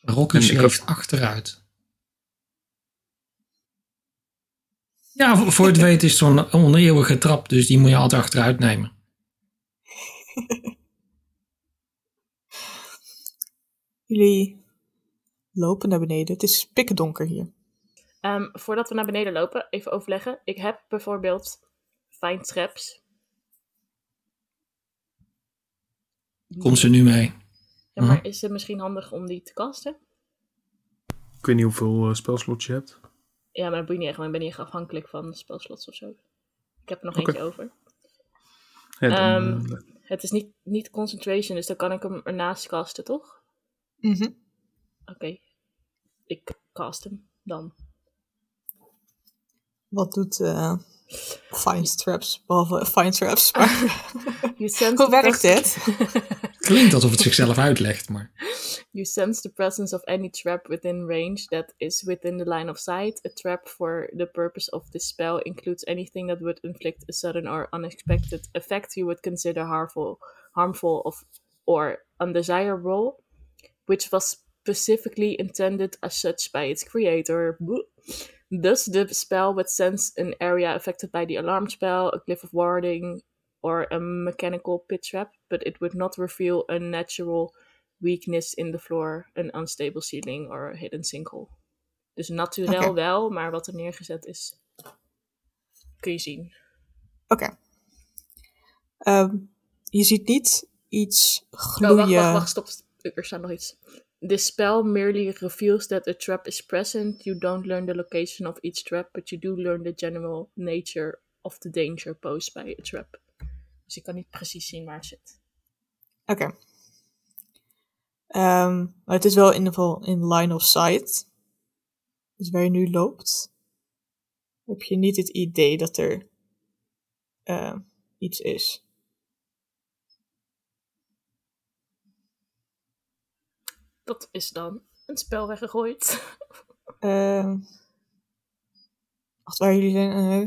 Speaker 3: Rocky
Speaker 4: En ik
Speaker 3: schreef achteruit. Ja, voor- voor het weten is het zo'n oneeuwige trap, dus die moet je altijd achteruit nemen.
Speaker 1: jullie lopen naar beneden. Het is pikdonker hier.
Speaker 5: Ehm, voordat we naar beneden lopen, even overleggen. Ik heb bijvoorbeeld find traps.
Speaker 3: Komt ze nu mee?
Speaker 5: Ja, maar is het misschien handig om die te kasten?
Speaker 4: Ik weet niet hoeveel eh, spelslots je hebt.
Speaker 5: Ja, maar dat boeit niet echt. want Ik ben niet echt afhankelijk van spelslots of zo. Ik heb er nog
Speaker 4: Oké.
Speaker 5: eentje over.
Speaker 4: Ja, dan,
Speaker 5: Ehm,
Speaker 4: eh,
Speaker 5: Het is niet, niet concentration, dus dan kan ik hem ernaast casten, toch?
Speaker 1: Mhm.
Speaker 5: Oké. Ik cast hem dan.
Speaker 1: Wat doet eh Fine Traps? Behalve Fine Traps. Maar
Speaker 5: You sense
Speaker 1: hoe
Speaker 5: the
Speaker 1: werkt
Speaker 5: pres-
Speaker 1: dit?
Speaker 3: Klinkt alsof het zichzelf uitlegt, maar...
Speaker 5: You sense the presence of any trap within range that is within the line of sight. A trap for the purpose of this spell includes anything that would inflict a sudden or unexpected effect you would consider harmful, harmful of, or undesirable, which was specifically intended as such by its creator. Boe. Thus, the spell would sense an area affected by the alarm spell, a glyph of warding, or a mechanical pit trap, but it would not reveal a natural weakness in the floor, an unstable ceiling or a hidden sinkhole. Dus naturel
Speaker 1: Oké.
Speaker 5: wel, maar wat er neergezet is, kun je zien.
Speaker 1: Oké. Ehm, je ziet niet iets
Speaker 5: Oh, wacht, wacht,
Speaker 1: gloeien.
Speaker 5: wacht, stop. Er staat nog iets. This spell merely reveals that a trap is present. You don't learn the location of each trap, but you do learn the general nature of the danger posed by a trap. Dus ik kan niet precies zien waar het zit.
Speaker 1: Oké. Ehm, maar het is wel in ieder geval in line of sight. Dus waar je nu loopt, heb je niet het idee dat er eh, iets is.
Speaker 5: Dat is dan een spel weggegooid.
Speaker 1: Ehm wacht, waar jullie zijn. eh,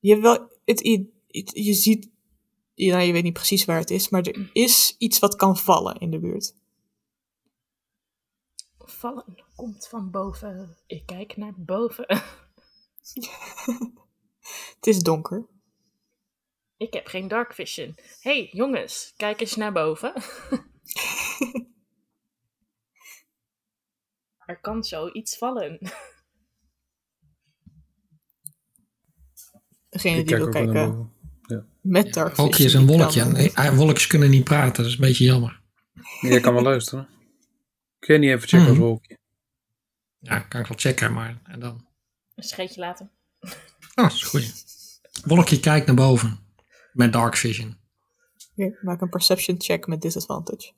Speaker 1: je hebt wel het, i- het- je ziet. Ja, nou, je weet niet precies waar het is, maar er is iets wat kan vallen in de buurt.
Speaker 5: Vallen komt van boven. Ik kijk naar boven.
Speaker 1: Het is donker.
Speaker 5: Ik heb geen dark vision. hey, jongens, kijk eens naar boven. er kan zoiets vallen.
Speaker 1: Degene
Speaker 4: ik
Speaker 1: die wil
Speaker 4: kijk ook wel naar
Speaker 1: kijken
Speaker 4: boven.
Speaker 1: met dark vision.
Speaker 3: Wolkjes en
Speaker 1: die
Speaker 3: wolkje.
Speaker 1: kan-
Speaker 3: Nee, ah, wolkjes kunnen niet praten, dat is een beetje jammer.
Speaker 4: Nee, je kan wel luisteren. Kun je niet even checken
Speaker 3: Hmm.
Speaker 4: als wolkje?
Speaker 3: Ja, kan ik wel checken, maar en dan...
Speaker 5: Een scheetje later.
Speaker 3: Ah, dat is goed. Wolkje kijkt naar boven. Met dark vision.
Speaker 1: Oké, maak een perception check met disadvantage.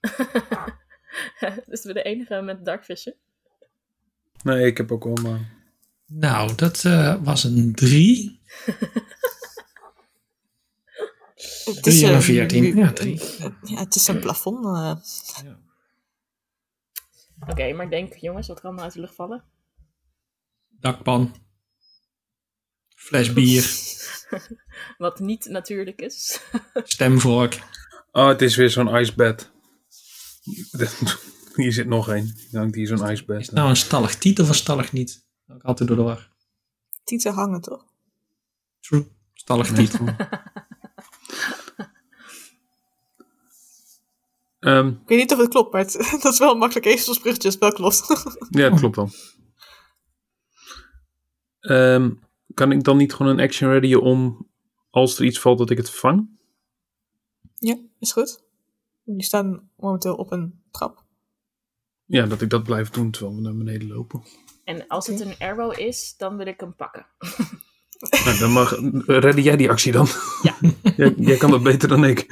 Speaker 5: dus we de enige met dark vision.
Speaker 4: Nee, ik heb ook wel, eh, maar...
Speaker 3: Nou, dat eh, was een 3.
Speaker 1: Het
Speaker 3: 3 en
Speaker 1: eh,
Speaker 3: een 14. Ja, 3.
Speaker 1: ja, het is een plafond. eh,
Speaker 5: Oké, maar denk, jongens, wat kan er uit de lucht vallen?
Speaker 3: Dakpan. Fles bier.
Speaker 5: Wat niet natuurlijk is.
Speaker 3: Stemvork.
Speaker 4: Oh, het is weer zo'n icebed. hier zit nog één. Dan hangt hier zo'n
Speaker 3: Is
Speaker 4: icebed.
Speaker 3: het nou een stalactiet of een stalagniet? Ik altijd door de war.
Speaker 1: tieten hangen toch?
Speaker 3: True. Stalactiet.
Speaker 4: Ehm,
Speaker 1: Ik weet niet of het klopt, maar het- dat is wel makkelijk. ezelsbruggetje, is wel klopt.
Speaker 4: ja, klopt wel. Ehm, kan ik dan niet gewoon een action ready om... Als er iets valt dat ik het vang?
Speaker 1: Ja, is goed. Jullie staan momenteel op een trap.
Speaker 4: Ja, dat ik dat blijf doen terwijl we naar beneden lopen.
Speaker 5: En als het een arrow is, dan wil ik hem pakken.
Speaker 4: Nou, dan mag... Redde jij die actie dan?
Speaker 5: Ja.
Speaker 4: jij, jij kan dat beter dan ik.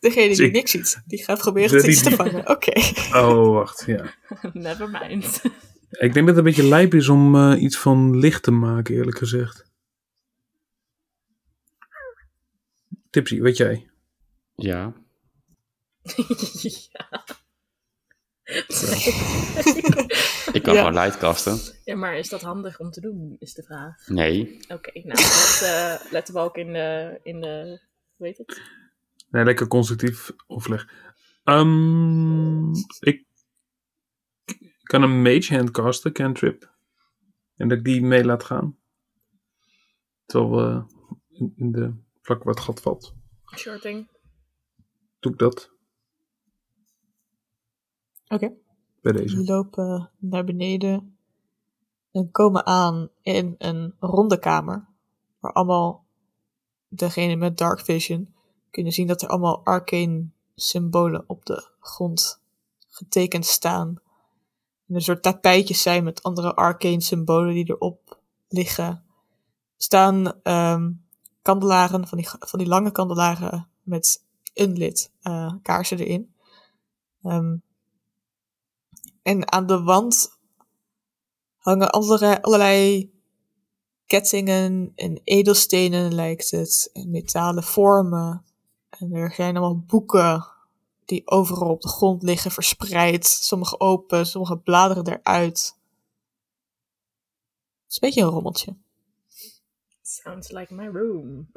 Speaker 1: Degene die
Speaker 4: Dus ik-
Speaker 1: niks ziet, die gaat proberen
Speaker 4: Dus
Speaker 1: het iets
Speaker 4: die-
Speaker 1: te vangen. Oké.
Speaker 4: Oh, wacht, ja.
Speaker 5: Never mind.
Speaker 4: Ik denk dat het een beetje lijp is om eh, iets van licht te maken, eerlijk gezegd. Tipsy, weet jij?
Speaker 2: Ja.
Speaker 5: ja.
Speaker 2: Ik kan
Speaker 1: Ja.
Speaker 2: gewoon lightcasten.
Speaker 5: ja, maar is dat handig om te doen, is de vraag.
Speaker 2: Nee.
Speaker 5: Oké, nou, dat, eh let de balk in de, in de, hoe heet het?
Speaker 4: Nee, lekker constructief of leg. Ehm, ik kan een mage hand casten, cantrip. En dat ik die mee laat gaan. Terwijl eh, in- in de vlak waar het gat valt.
Speaker 5: Shorting.
Speaker 4: Doe ik dat
Speaker 1: Oké.
Speaker 4: bij deze.
Speaker 1: Jullie lopen naar beneden en komen aan in een ronde kamer. Waar allemaal degene met dark vision kunnen zien dat er allemaal arcane symbolen op de grond getekend staan. En een soort tapijtjes zijn met andere arcane symbolen die erop liggen. Staan ehm, kandelaren, van die, van die lange kandelaren met een lid eh, kaarsen erin. Ehm, en aan de wand hangen andere, allerlei kettingen en edelstenen lijkt het. En metalen vormen. En er zijn allemaal boeken die overal op de grond liggen, verspreid. Sommige open, sommige bladeren eruit. Het is een beetje een rommeltje.
Speaker 5: Sounds like my room.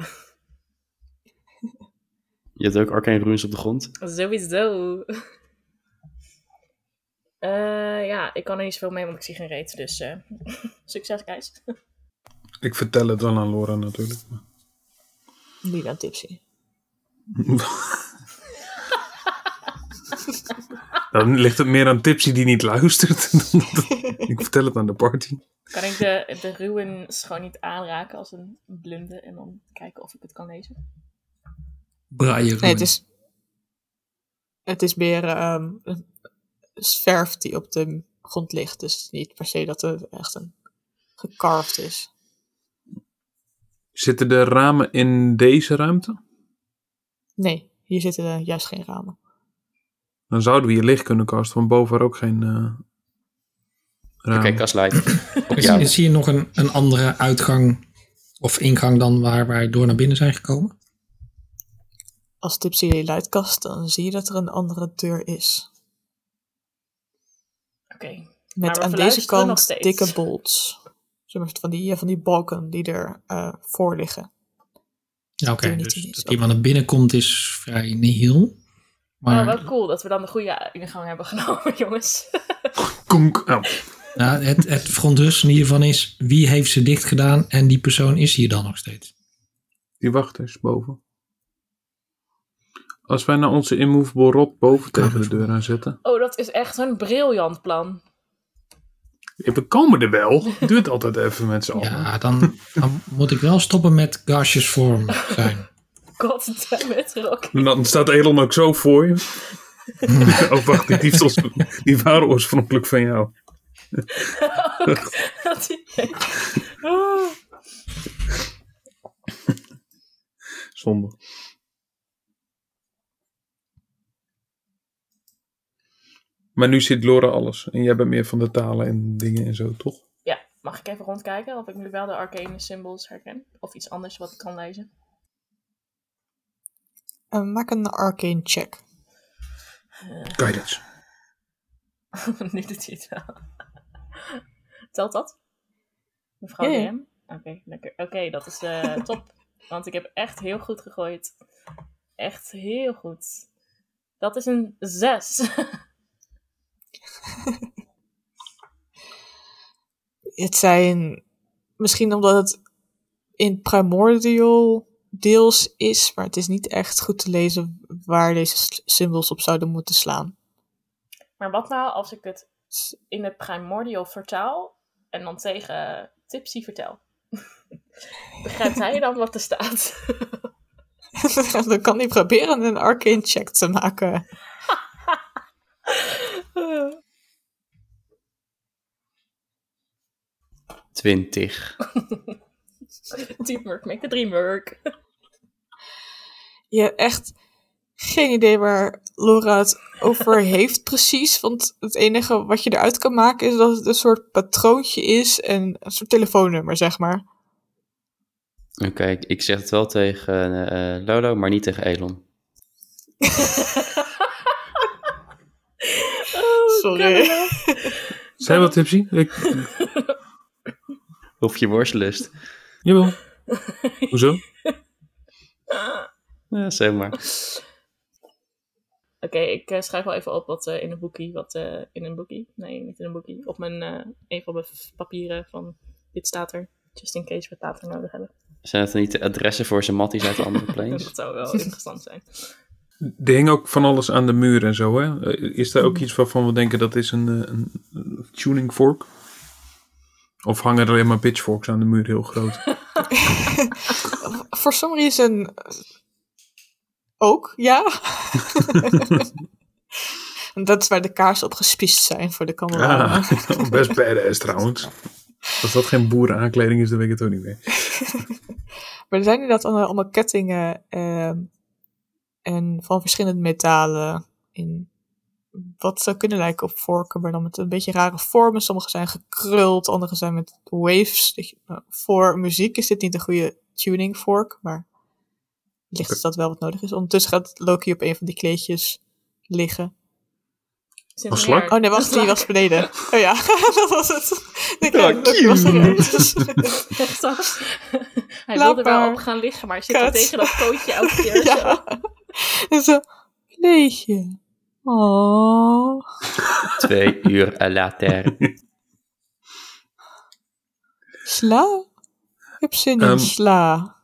Speaker 2: Je hebt ook arcane runes op de grond.
Speaker 5: Sowieso. Eh, ja, ik kan er niet zoveel mee, want ik zie geen reet. Dus eh, succes, guys.
Speaker 4: Ik vertel het wel aan Laura natuurlijk. maar-
Speaker 1: Niet aan tipsy.
Speaker 4: Dan ligt het meer aan Tipsy die niet luistert. dan dat het- ik vertel het aan de party.
Speaker 5: Kan ik de, de ruins gewoon niet aanraken als een blinde en dan kijken of ik het kan lezen?
Speaker 3: Braille
Speaker 1: Nee, het is, het is meer ehm, een zwerf die op de grond ligt. Dus niet per se dat het echt een gecarved is.
Speaker 4: Zitten de ramen in deze ruimte?
Speaker 1: Nee, hier zitten eh, juist geen ramen.
Speaker 4: Dan zouden we hier licht kunnen casten, want boven er ook geen eh
Speaker 2: Oké,
Speaker 4: ramen.
Speaker 2: kastlight. Op
Speaker 3: Is,
Speaker 2: jou.
Speaker 3: is hier nog een, een andere uitgang of ingang dan waar wij door naar binnen zijn gekomen?
Speaker 1: Als tipsy je luid kast, dan zie je dat er een andere deur is.
Speaker 5: Oké. Maar
Speaker 1: Met
Speaker 5: we
Speaker 1: aan deze
Speaker 5: verluisteren nog
Speaker 1: kant
Speaker 5: steeds.
Speaker 1: dikke bolts. Zeg maar van die, eh, van die balken die er eh, voor liggen.
Speaker 3: Ja, Oké,
Speaker 1: Doe niet, doe
Speaker 3: dus
Speaker 1: niet.
Speaker 3: dat iemand naar binnen komt is vrij nihil. Maar
Speaker 5: Oh, wel cool dat we dan de goede ingang hebben genomen, jongens.
Speaker 4: Konk. Oh,
Speaker 3: nou, het, het verontrustende hiervan is, wie heeft ze dicht gedaan en die persoon is hier dan nog steeds?
Speaker 4: die wacht eens boven. Als wij nou onze immovable rot boven tegen de deur aan zetten.
Speaker 5: Oh, dat is echt een briljant plan.
Speaker 4: Ja, we komen er wel. Het duurt altijd even met z'n allen.
Speaker 3: Ja, dan, dan moet ik wel stoppen met gaseous vorm zijn.
Speaker 5: God damn it, Rocky.
Speaker 4: En dan staat Elon ook zo voor je. oh, wacht, die, diefst ons- die waren oorspronkelijk van jou.
Speaker 5: Dat die- Ah.
Speaker 4: Zonde. Maar nu ziet Laura alles. En jij bent meer van de talen en dingen en zo, toch?
Speaker 5: Ja, mag ik even rondkijken of ik nu wel de arcane symbols herken? Of iets anders wat ik kan lezen?
Speaker 1: Eh, maak een arcane check.
Speaker 4: Guidance.
Speaker 5: nu doet hij het wel. Telt dat? Mevrouw
Speaker 1: Ja, ja.
Speaker 5: DM? Oké, lekker. Oké, dat is eh, top. Want ik heb echt heel goed gegooid. Echt heel goed. Dat is een 6.
Speaker 1: Het zijn misschien omdat het in primordial deels is, maar het is niet echt goed te lezen waar deze s- symbols op zouden moeten slaan.
Speaker 5: maar wat nou als ik het in het primordial vertaal en dan tegen Tipsy vertel? Begrijpt hij dan wat er staat?
Speaker 1: Dan kan hij proberen een arcane check te maken.
Speaker 2: Twintig.
Speaker 5: Teamwork, make a dream work.
Speaker 1: Je hebt echt geen idee waar Laura het over heeft precies. Want het enige wat je eruit kan maken is dat het een soort patroontje is en een soort telefoonnummer, zeg maar.
Speaker 2: Oké, ik- ik zeg het wel tegen eh, eh, Lolo, maar niet tegen Elon.
Speaker 1: Sorry.
Speaker 4: Zijn wat tipsy? Ik,
Speaker 2: Of je worstlust.
Speaker 4: jawel. Hoezo?
Speaker 2: Ja, zeg maar.
Speaker 5: Oké, ik eh, schrijf wel even op wat eh, in een boekie, wat eh, in een boekie, nee, niet in een boekie, op mijn, eh, een van mijn f- papieren van dit staat er, just in case we het later nodig hebben.
Speaker 2: Zijn dat dan niet de adressen voor zijn matties uit de andere planes?
Speaker 5: Dat zou wel interessant zijn.
Speaker 4: Er hing ook van alles aan de muur en zo, hè? Eh, Is daar ook iets waarvan we denken dat is een, eh, een, een tuning fork? Of hangen er alleen maar pitchforks aan de muur heel groot?
Speaker 1: Voor some reason eh, Ook, ja. dat is waar de kaarsen op gespiest zijn voor de kameraden.
Speaker 4: Ah, best badass trouwens. Als dat geen boerenaankleding is, dan weet ik het ook niet meer.
Speaker 1: Maar er zijn inderdaad allemaal, allemaal kettingen ehm, en van verschillende metalen in wat zou kunnen lijken op vorken, maar dan met een beetje rare vormen. Sommige zijn gekruld, andere zijn met waves. Dat je- nou, voor muziek is dit niet een goede tuning vork, maar wellicht is dat wel wat nodig is. Ondertussen gaat Loki op een van die kleedjes liggen.
Speaker 5: Sinds
Speaker 4: Een
Speaker 5: een jaar.
Speaker 4: slak?
Speaker 1: Oh nee, wacht, die
Speaker 5: Slak.
Speaker 1: was beneden. Oh ja, dat was het. De kleine
Speaker 2: Ja,
Speaker 1: Loki was
Speaker 4: cute.
Speaker 1: eruit.
Speaker 5: Echt zo. Hij
Speaker 1: Laat
Speaker 5: wilde wel
Speaker 1: maar.
Speaker 5: op gaan liggen, maar hij zit er
Speaker 1: Kut.
Speaker 5: tegen dat pootje elke keer zo.
Speaker 1: Ja. En zo, kleedje. Oh.
Speaker 2: Twee uur later.
Speaker 1: Sla? Ik heb zin
Speaker 4: Ehm.
Speaker 1: in sla.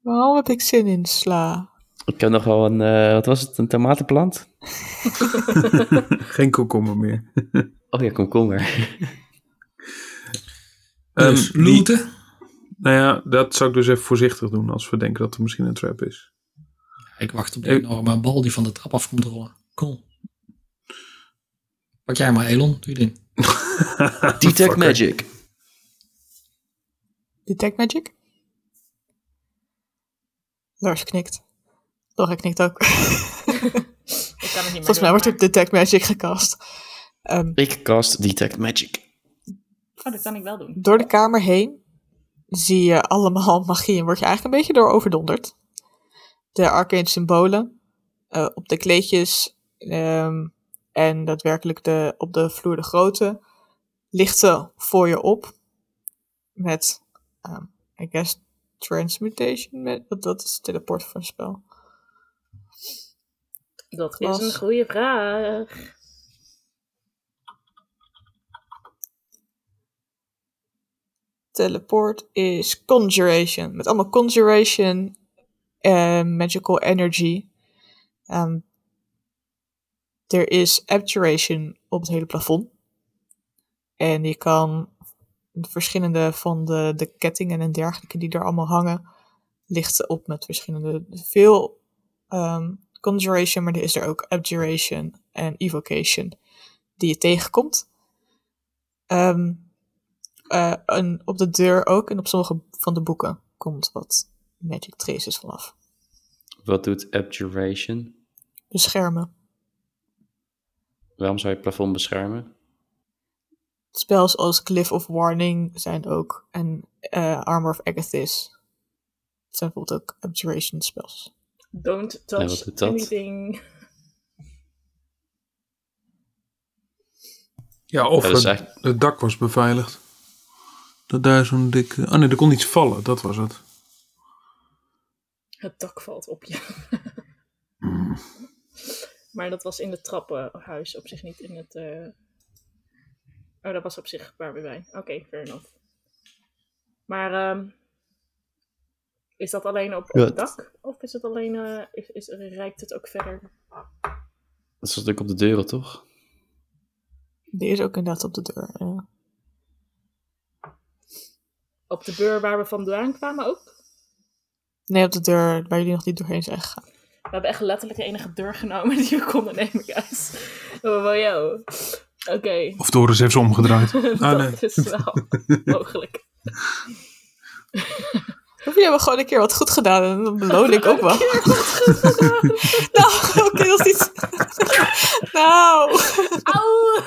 Speaker 1: Waarom heb ik zin in sla?
Speaker 2: Ik heb nog wel een, eh, wat was het, een tomatenplant?
Speaker 4: Geen komkommer meer.
Speaker 2: Oh ja, komkommer.
Speaker 3: Dus
Speaker 4: Ehm, die-
Speaker 3: looten.
Speaker 4: nou ja, dat zou ik dus even voorzichtig doen als we denken dat er misschien een trap is.
Speaker 3: Ik wacht op
Speaker 2: Eh,
Speaker 3: de enorme bal die van de trap af komt rollen. Cool. Pak jij maar, Elon. Doe je ding.
Speaker 2: Detect
Speaker 4: Fucker.
Speaker 2: Magic.
Speaker 1: Detect magic? Lars knikt. Laura knikt ook.
Speaker 5: Ik kan het niet meer
Speaker 1: Volgens mij wordt er detect magic gecast. Ehm,
Speaker 2: Ik cast Detect Magic.
Speaker 5: Oh, dat kan ik wel doen.
Speaker 1: door de kamer heen zie je allemaal magie en word je eigenlijk een beetje door overdonderd. De arcane symbolen eh, op de kleedjes ehm, en daadwerkelijk de, op de vloer de grote lichten voor je op met, ehm, I guess, transmutation. Met, dat- dat is teleport voor een spel.
Speaker 5: Dat
Speaker 1: Klas.
Speaker 5: is een goede vraag.
Speaker 1: Teleport is conjuration. Met allemaal conjuration en magical energy. Ehm, er is abjuration op het hele plafond. En je kan verschillende van de, de kettingen en dergelijke die er allemaal hangen, lichten op met verschillende. Veel ehm, conjuration, maar er is er ook abjuration en evocation die je tegenkomt. Ehm eh, en op de deur ook en op sommige van de boeken komt wat magic traces vanaf.
Speaker 2: Wat doet Abjuration?
Speaker 1: Beschermen.
Speaker 2: Waarom zou je het plafond beschermen?
Speaker 1: Spels als Cliff of Warning zijn ook en eh, Armor of Agathis. Het zijn bijvoorbeeld ook abjuration spells.
Speaker 5: Don't
Speaker 2: En wat
Speaker 5: touch
Speaker 2: doet dat?
Speaker 5: anything.
Speaker 4: Ja, of
Speaker 2: Ja, dat is
Speaker 4: het,
Speaker 2: echt-
Speaker 4: het dak was beveiligd. Dat daar zo'n dikke... Oh nee, er kon iets vallen, dat was het.
Speaker 5: Het dak valt op je.
Speaker 4: Mm.
Speaker 5: Maar dat was in het trappenhuis op zich niet in het. eh, Oh, dat was op zich waar we zijn. Oké, fair enough. Maar ehm, is dat alleen op, op
Speaker 2: Ja,
Speaker 5: het
Speaker 2: het-
Speaker 5: dak? Of is het alleen. eh, is, is, reikt het ook verder?
Speaker 2: Dat is natuurlijk op de deuren, toch?
Speaker 1: Die is ook inderdaad op de deur. eh. ja.
Speaker 5: Op de beur waar we vandaan kwamen ook?
Speaker 1: Nee, op de deur waar jullie nog niet doorheen zijn gegaan.
Speaker 5: We hebben echt letterlijk de enige deur genomen die we konden nemen, guys. Oh, wow, yo. Oké.
Speaker 4: Of Doris heeft ze omgedraaid. Ah
Speaker 5: dat
Speaker 4: nee.
Speaker 5: is wel mogelijk.
Speaker 1: Of jullie hebben gewoon een keer wat goed gedaan en dan beloon ik ook wel. nou, oké, dat is iets... nou,
Speaker 5: Auw!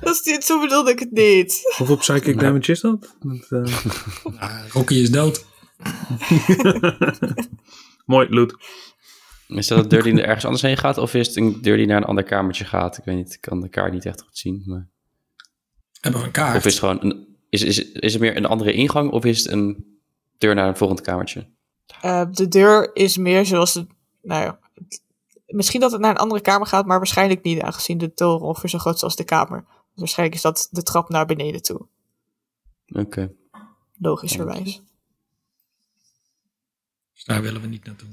Speaker 1: dat is niet, zo bedoelde ik het niet.
Speaker 4: Hoeveel psychic damage is dat? dat eh,
Speaker 3: Ah, Rocky is dood.
Speaker 4: Mooi, loot.
Speaker 2: Is dat een deur die er ergens anders heen gaat? Of is het een deur die naar een ander kamertje gaat? Ik weet niet, ik kan de kaart niet echt goed zien. Maar...
Speaker 3: Hebben we een kaart.
Speaker 2: Of is het gewoon een, is, is, is het meer een andere ingang? Of is het een deur naar een volgend kamertje?
Speaker 1: Eh, de deur is meer zoals het. Nou ja, het- misschien dat het naar een andere kamer gaat, maar waarschijnlijk niet, aangezien de toren ongeveer zo groot is als de kamer. Dus waarschijnlijk is dat de trap naar beneden toe,
Speaker 2: Oké.
Speaker 1: logischerwijs.
Speaker 3: Dus daar willen we niet naartoe.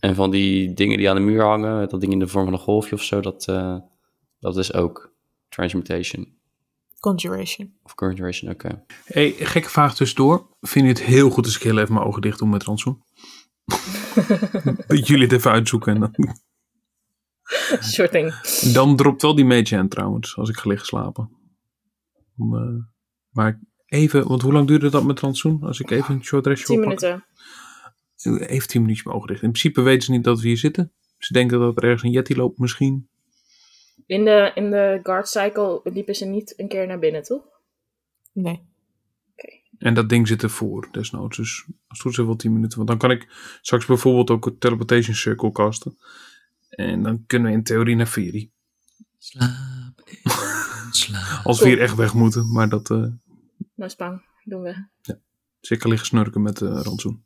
Speaker 2: En van die dingen die aan de muur hangen, dat ding in de vorm van een golfje of zo, dat, eh, dat is ook transmutation
Speaker 1: Conjuration.
Speaker 2: of conjuration. Oké.
Speaker 4: hey, gekke vraag tussendoor. Vind je het heel goed als ik heel even mijn ogen dicht doe met rantsoen? Dat jullie het even uitzoeken. En dan,
Speaker 5: Sure thing.
Speaker 4: dan dropt wel die mage hand trouwens, als ik ga liggen slapen. Dan, eh, maar ik- even, want hoe lang duurde dat met rantsoen? Als ik even een short restje
Speaker 5: 10
Speaker 4: oppak?
Speaker 5: minuten.
Speaker 4: Even 10 minuutjes mijn ogen dicht. In principe weten ze niet dat we hier zitten. Ze denken dat er ergens een yeti loopt misschien.
Speaker 5: In de, in de guard cycle liepen ze niet een keer naar binnen, toch?
Speaker 1: Nee.
Speaker 4: En dat ding zit ervoor, desnoods. Dus als het goed is wel 10 minuten. Want dan kan ik straks bijvoorbeeld ook een teleportation circle casten. En dan kunnen we in theorie naar Feri.
Speaker 3: Slaap, even slaap.
Speaker 4: Als we hier echt weg moeten. Maar dat eh
Speaker 5: Nou, Spang, doen we.
Speaker 4: zeker liggen snurken met eh rantsoen.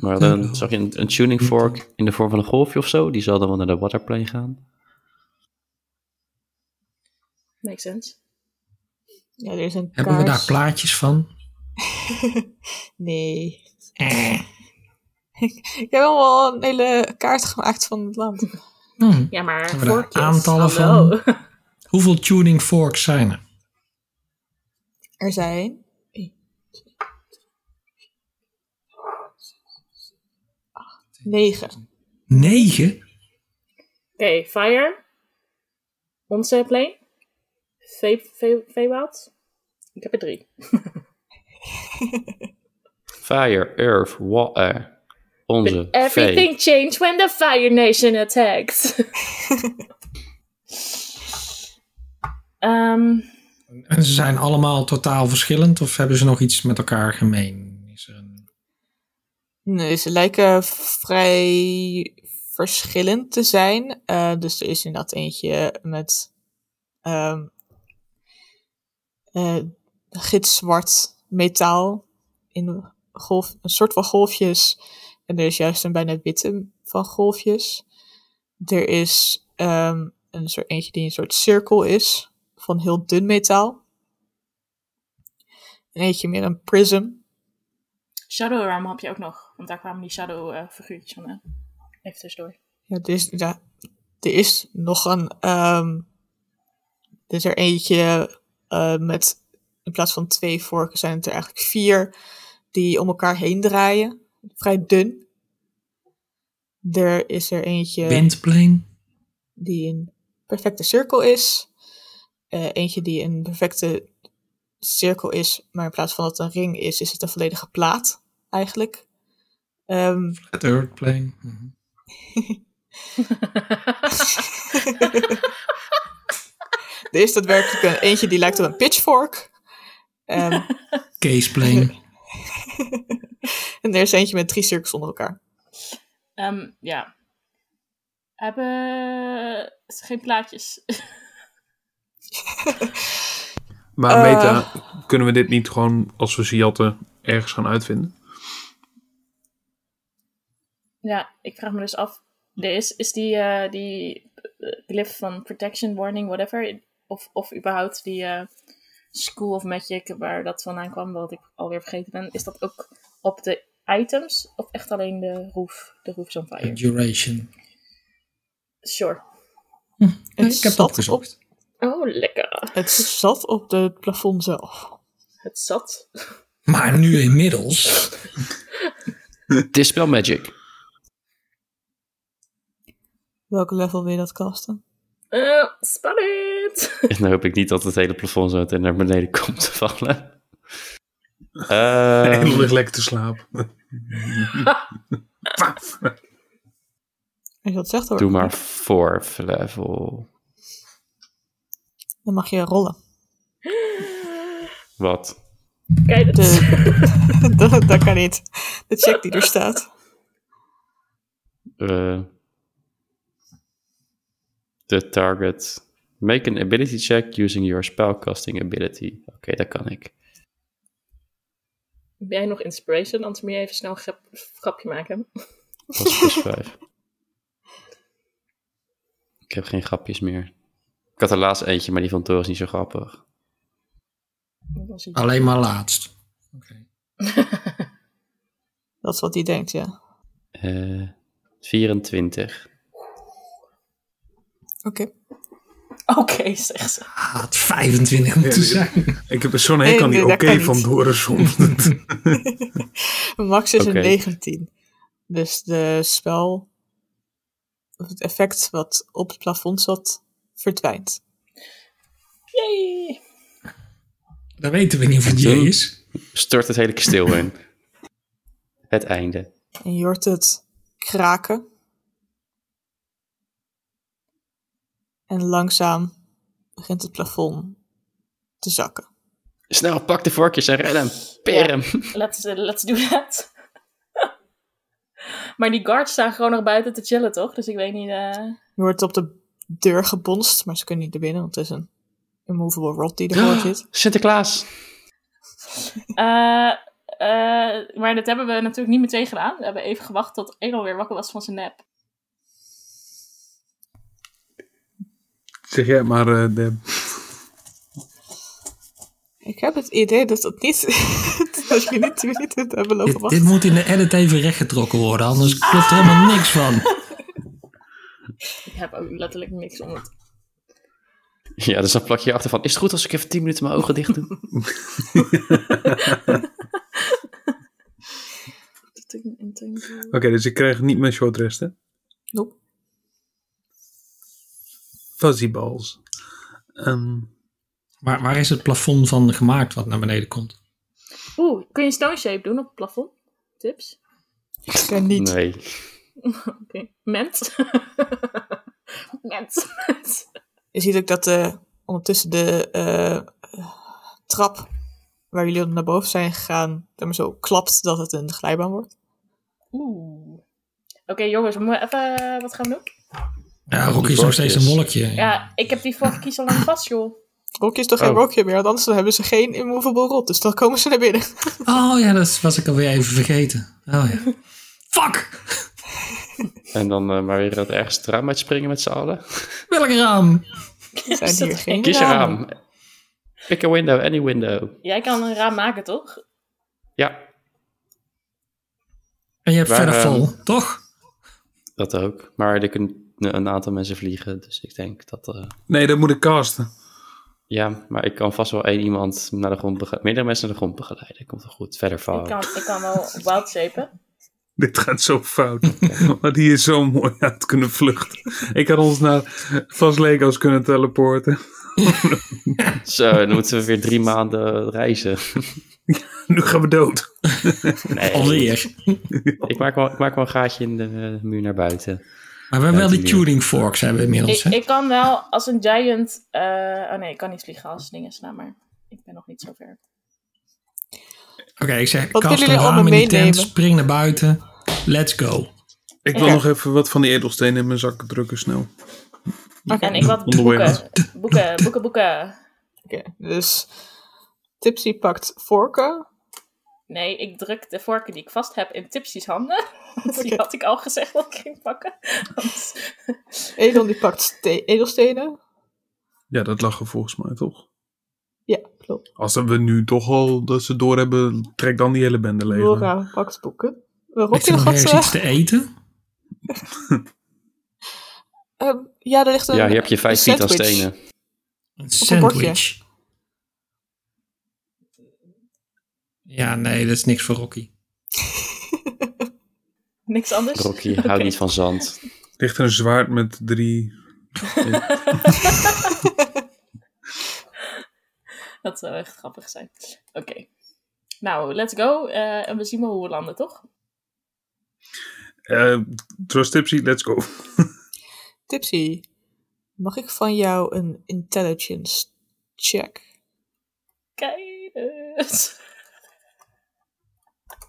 Speaker 2: Maar
Speaker 3: Eh,
Speaker 2: dan zag je een, een tuning fork in de vorm van een golfje of zo. Die zal dan wel naar de waterplane gaan.
Speaker 5: Makes sense.
Speaker 1: Ja, er is een
Speaker 3: Hebben we daar
Speaker 1: kaars.
Speaker 3: plaatjes van?
Speaker 1: Nee.
Speaker 3: Eh.
Speaker 1: Ik heb wel een hele kaart gemaakt van het land.
Speaker 3: Hm.
Speaker 5: Ja, maar
Speaker 3: Hebben we daar
Speaker 5: vorkjes,
Speaker 3: aantallen
Speaker 5: hallo.
Speaker 3: Hoeveel tuning forks zijn er?
Speaker 1: Er zijn. Negen.
Speaker 3: Negen?
Speaker 5: Oké, Fire. Onze plane. Ve- Ve- Veewoud. Ik heb er drie.
Speaker 2: Fire, earth, water. Onze vee.
Speaker 5: Everything changed when the Fire Nation attacked. Ehm,
Speaker 3: En ze zijn allemaal totaal verschillend of hebben ze nog iets met elkaar gemeen? Is er een...
Speaker 1: Nee, ze lijken vrij verschillend te zijn. Eh, dus er is inderdaad eentje met ehm eh, gitzwart metaal in golf, een soort van golfjes. En er is juist een bijna witte van golfjes. Er is ehm, een soort eentje die een soort cirkel is van heel dun metaal. En eentje meer een prism.
Speaker 5: Shadow Realm heb je ook nog. Want daar kwamen die Shadow eh, figuurtjes vandaan. Even tussendoor.
Speaker 1: Ja, er is, ja, er is nog een. ehm er is er eentje eh, met. In plaats van twee vorken zijn het er eigenlijk vier. Die om elkaar heen draaien. Vrij dun. Er is er eentje
Speaker 3: Windplane?
Speaker 1: die een perfecte cirkel is. Eh, eentje die een perfecte cirkel is, maar in plaats van dat het een ring is, is het een volledige plaat eigenlijk. Ehm,
Speaker 3: Het Earthplane? Mhm.
Speaker 1: er is daadwerkelijk een eentje die lijkt op een pitchfork. Ehm,
Speaker 3: Caseplane?
Speaker 1: En er is eentje met drie cirkels onder elkaar.
Speaker 5: Ehm, ja. Hebben ze geen plaatjes?
Speaker 4: Maar
Speaker 1: Eh.
Speaker 4: meta, kunnen we dit niet gewoon als we ze jatten ergens gaan uitvinden?
Speaker 5: Ja, ik vraag me dus af. Er is, is die, eh, die eh, glyph van protection, warning, whatever. Of, of überhaupt die eh, school of magic waar dat vandaan kwam, wat ik alweer vergeten ben. Is dat ook op de items of echt alleen de roof, de roof's on fire?
Speaker 3: Duration?
Speaker 5: Sure.
Speaker 1: Het
Speaker 3: Ik heb
Speaker 1: zat
Speaker 3: dat
Speaker 1: op-
Speaker 3: gezocht.
Speaker 5: Oh, lekker.
Speaker 1: Het zat op het plafond zelf.
Speaker 5: Het zat.
Speaker 3: Maar nu inmiddels...
Speaker 2: Dispel magic.
Speaker 1: Welke level wil je dat casten?
Speaker 5: Eh, spannend.
Speaker 2: En dan hoop ik niet dat het hele plafond zo meteen naar beneden komt te vallen. Ehm,
Speaker 4: En dan ligt lekker te slapen.
Speaker 1: Als je dat zegt hoor.
Speaker 2: doe maar fourth level.
Speaker 1: Dan mag je rollen.
Speaker 2: Wat?
Speaker 5: Kijk, dat
Speaker 1: Eh.
Speaker 5: is-
Speaker 1: De, dat, dat kan niet. De check die er staat.
Speaker 2: Eh, the target. Make an ability check using your spellcasting ability. Oké, dat kan ik.
Speaker 5: Heb jij nog inspiration? Anders moet je even snel een grap- grapje maken.
Speaker 2: Dat is plus 5. Ik heb geen grapjes meer. Ik had er laatst eentje, maar die van Thor is niet zo grappig.
Speaker 5: Dat was iets.
Speaker 3: Alleen maar laatst. Oké.
Speaker 1: Dat is wat hij denkt, ja. Oké.
Speaker 2: Eh 24.
Speaker 5: Oké, zegt ze.
Speaker 3: Ah, het 25 moeten
Speaker 4: Ja,
Speaker 3: zijn.
Speaker 4: Ik heb er zo'n
Speaker 1: Nee,
Speaker 4: hekel aan die
Speaker 1: nee, dat
Speaker 4: oké
Speaker 1: kan
Speaker 4: van
Speaker 1: niet.
Speaker 4: Dorison.
Speaker 1: Max is
Speaker 2: Oké.
Speaker 1: een 19. Dus de spel, of het effect wat op het plafond zat, verdwijnt.
Speaker 5: Yay!
Speaker 3: Dan weten we niet of het J is.
Speaker 2: Stort het hele kasteel in. Het einde.
Speaker 1: En je hoort het kraken. En langzaam begint het plafond te zakken.
Speaker 2: Snel, pak de vorkjes en red hem. Per hem.
Speaker 5: Let's, eh, let's do that. maar die guards staan gewoon nog buiten te chillen, toch? Dus ik weet niet... eh,
Speaker 1: Je wordt op de deur gebonst, maar ze kunnen niet naar binnen, want het is een immovable rod die ervoor zit.
Speaker 2: Sinterklaas.
Speaker 5: Eh, eh, maar dat hebben we natuurlijk niet meteen gedaan. We hebben even gewacht tot Engel weer wakker was van zijn nap.
Speaker 4: zeg jij maar, eh, Deb.
Speaker 1: Ik heb het idee dat dat niet. dat je niet twee minuten hebben lopen
Speaker 3: Dit,
Speaker 1: wachten.
Speaker 3: dit moet in de edit even rechtgetrokken worden, anders
Speaker 1: Ah.
Speaker 3: klopt er helemaal niks van.
Speaker 5: Ik heb ook letterlijk niks om het.
Speaker 2: Ja, dus dan plak je je achter van, is het goed als ik even 10 minuten mijn ogen dicht doe?
Speaker 4: Oké, dus ik krijg niet mijn short rest, hè?
Speaker 1: Nope.
Speaker 4: Fuzzy balls. Ehm,
Speaker 3: Maar waar is het plafond van gemaakt wat naar beneden komt?
Speaker 5: Oeh, kun je stone shape doen op het plafond? Tips?
Speaker 1: Ik ben niet.
Speaker 2: Nee.
Speaker 5: Oké. Ment? Ment.
Speaker 1: Je ziet ook dat eh, ondertussen de eh, eh, trap waar jullie naar boven zijn gegaan, zeg maar zo klapt dat het een glijbaan wordt.
Speaker 5: Oeh. Oké, jongens, we moeten even. eh, Wat gaan we doen?
Speaker 3: Ja, Rocky is nog steeds een wolkje.
Speaker 5: Ja, ik heb die vorige kies al lang vast, joh.
Speaker 1: Rokje is toch geen
Speaker 2: Oh.
Speaker 1: rokje meer, want anders dan hebben ze geen immovable rot, dus dan komen ze naar binnen.
Speaker 3: Oh ja, dat was ik alweer even vergeten. Oh ja. Fuck!
Speaker 2: En dan eh, maar weer dat ergens het raam uitspringen met z'n allen.
Speaker 3: Welk raam?
Speaker 1: Er
Speaker 5: Is dat
Speaker 1: zijn hier geen
Speaker 2: Kies je
Speaker 1: ramen.
Speaker 2: raam. Pick a window, any window.
Speaker 5: Jij kan een raam maken, toch?
Speaker 2: Ja,
Speaker 3: En je hebt
Speaker 2: Waar,
Speaker 3: verder
Speaker 2: eh,
Speaker 3: vol, toch?
Speaker 2: dat ook. Maar er kunnen een aantal mensen vliegen, dus ik denk dat... eh,
Speaker 4: nee, dat moet ik casten.
Speaker 2: ja, maar ik kan vast wel één iemand naar de grond begeleiden. Meerdere mensen naar de grond begeleiden. Komt wel goed. Verder
Speaker 5: Ik,
Speaker 2: vallen.
Speaker 5: kan, ik kan wel wild shapen.
Speaker 4: Dit gaat zo fout. Maar die is zo mooi uit kunnen vluchten. Ik had ons naar Vast Legos kunnen teleporten.
Speaker 2: Zo, dan moeten we weer drie maanden reizen.
Speaker 4: Nu gaan we dood.
Speaker 2: Nee,
Speaker 3: Alweer.
Speaker 2: Ik maak, wel, ik maak wel een gaatje in de eh, muur naar buiten.
Speaker 3: Maar we hebben wel die
Speaker 2: natuurlijk.
Speaker 3: tuning forks hebben we inmiddels.
Speaker 5: Ik,
Speaker 3: hè?
Speaker 5: ik kan wel als een giant. eh, oh nee, ik kan niet vliegen als dingen slaan, maar ik ben nog niet zo ver.
Speaker 3: Oké, ik zeg,
Speaker 1: Wat
Speaker 3: kast
Speaker 1: willen
Speaker 3: een
Speaker 1: jullie
Speaker 3: raam in
Speaker 1: allemaal
Speaker 3: die tent,
Speaker 1: meenemen?
Speaker 3: spring naar buiten. Let's go.
Speaker 4: Ik wil
Speaker 5: Ja.
Speaker 4: nog even wat van die edelstenen in mijn zak drukken snel.
Speaker 1: Oké,
Speaker 5: En ik wat
Speaker 4: Onderweg.
Speaker 5: boeken. Boeken, boeken, boeken.
Speaker 1: oké, dus Tipsy pakt vorken.
Speaker 5: Nee, ik druk de vorken die ik vast heb in Tipsy's handen. Want die
Speaker 1: Oké.
Speaker 5: had ik al gezegd dat ik ging pakken. Want-
Speaker 1: Edon die pakt ste- edelstenen.
Speaker 4: Ja, dat lag er volgens mij toch?
Speaker 1: Ja, klopt.
Speaker 4: Als we nu toch al dat ze doorhebben, trek dan die hele bende leeg.
Speaker 1: Laura pakt boeken.
Speaker 3: Ik
Speaker 1: Rokje
Speaker 3: zit nog
Speaker 1: nog
Speaker 3: ergens iets
Speaker 1: wat...
Speaker 3: te eten.
Speaker 1: eh, ehm, ja, er ligt een
Speaker 2: Ja, hier heb je vijf
Speaker 1: een
Speaker 2: feet aan
Speaker 1: sandwich.
Speaker 2: stenen.
Speaker 3: Een
Speaker 1: een bordje.
Speaker 3: sandwich. Ja, nee, dat is niks voor Rocky.
Speaker 5: Niks anders.
Speaker 2: Rocky, hou
Speaker 5: Oké.
Speaker 2: niet van zand.
Speaker 4: Ligt er een zwaard met drie.
Speaker 5: Dat zou echt grappig zijn. Oké. Nou, let's go. eh, en we zien wel hoe we landen, toch?
Speaker 4: eh trust tipsy, let's go.
Speaker 1: Tipsy, mag ik van jou een intelligence check?
Speaker 5: Keiders.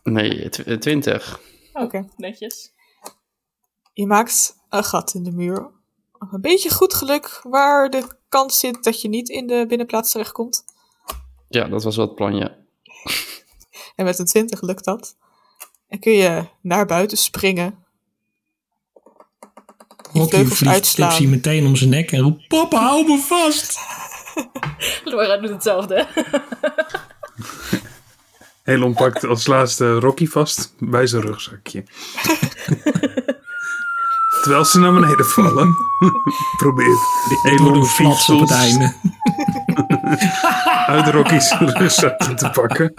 Speaker 2: Nee, tw- eh, twintig.
Speaker 5: Oh,
Speaker 1: Oké.
Speaker 5: Netjes.
Speaker 1: Je maakt een gat in de muur. Een beetje goed geluk waar de kans zit dat je niet in de binnenplaats terechtkomt.
Speaker 2: Ja, dat was wel het plan, ja.
Speaker 1: En met een 20 lukt dat. En kun je naar buiten springen. Je
Speaker 3: Rocky
Speaker 1: vleugels
Speaker 3: vliegt
Speaker 1: uitslaan.
Speaker 3: Tipsy meteen om zijn nek en roept... Papa, hou me vast!
Speaker 5: Laura doet hetzelfde.
Speaker 4: Helon pakt als laatste Rocky vast bij zijn rugzakje. terwijl ze naar beneden vallen. Probeer.
Speaker 3: Ik
Speaker 4: Elon
Speaker 3: doe flats op het
Speaker 4: Fiesels
Speaker 3: einde.
Speaker 4: uit Rocky's rugzakje te pakken.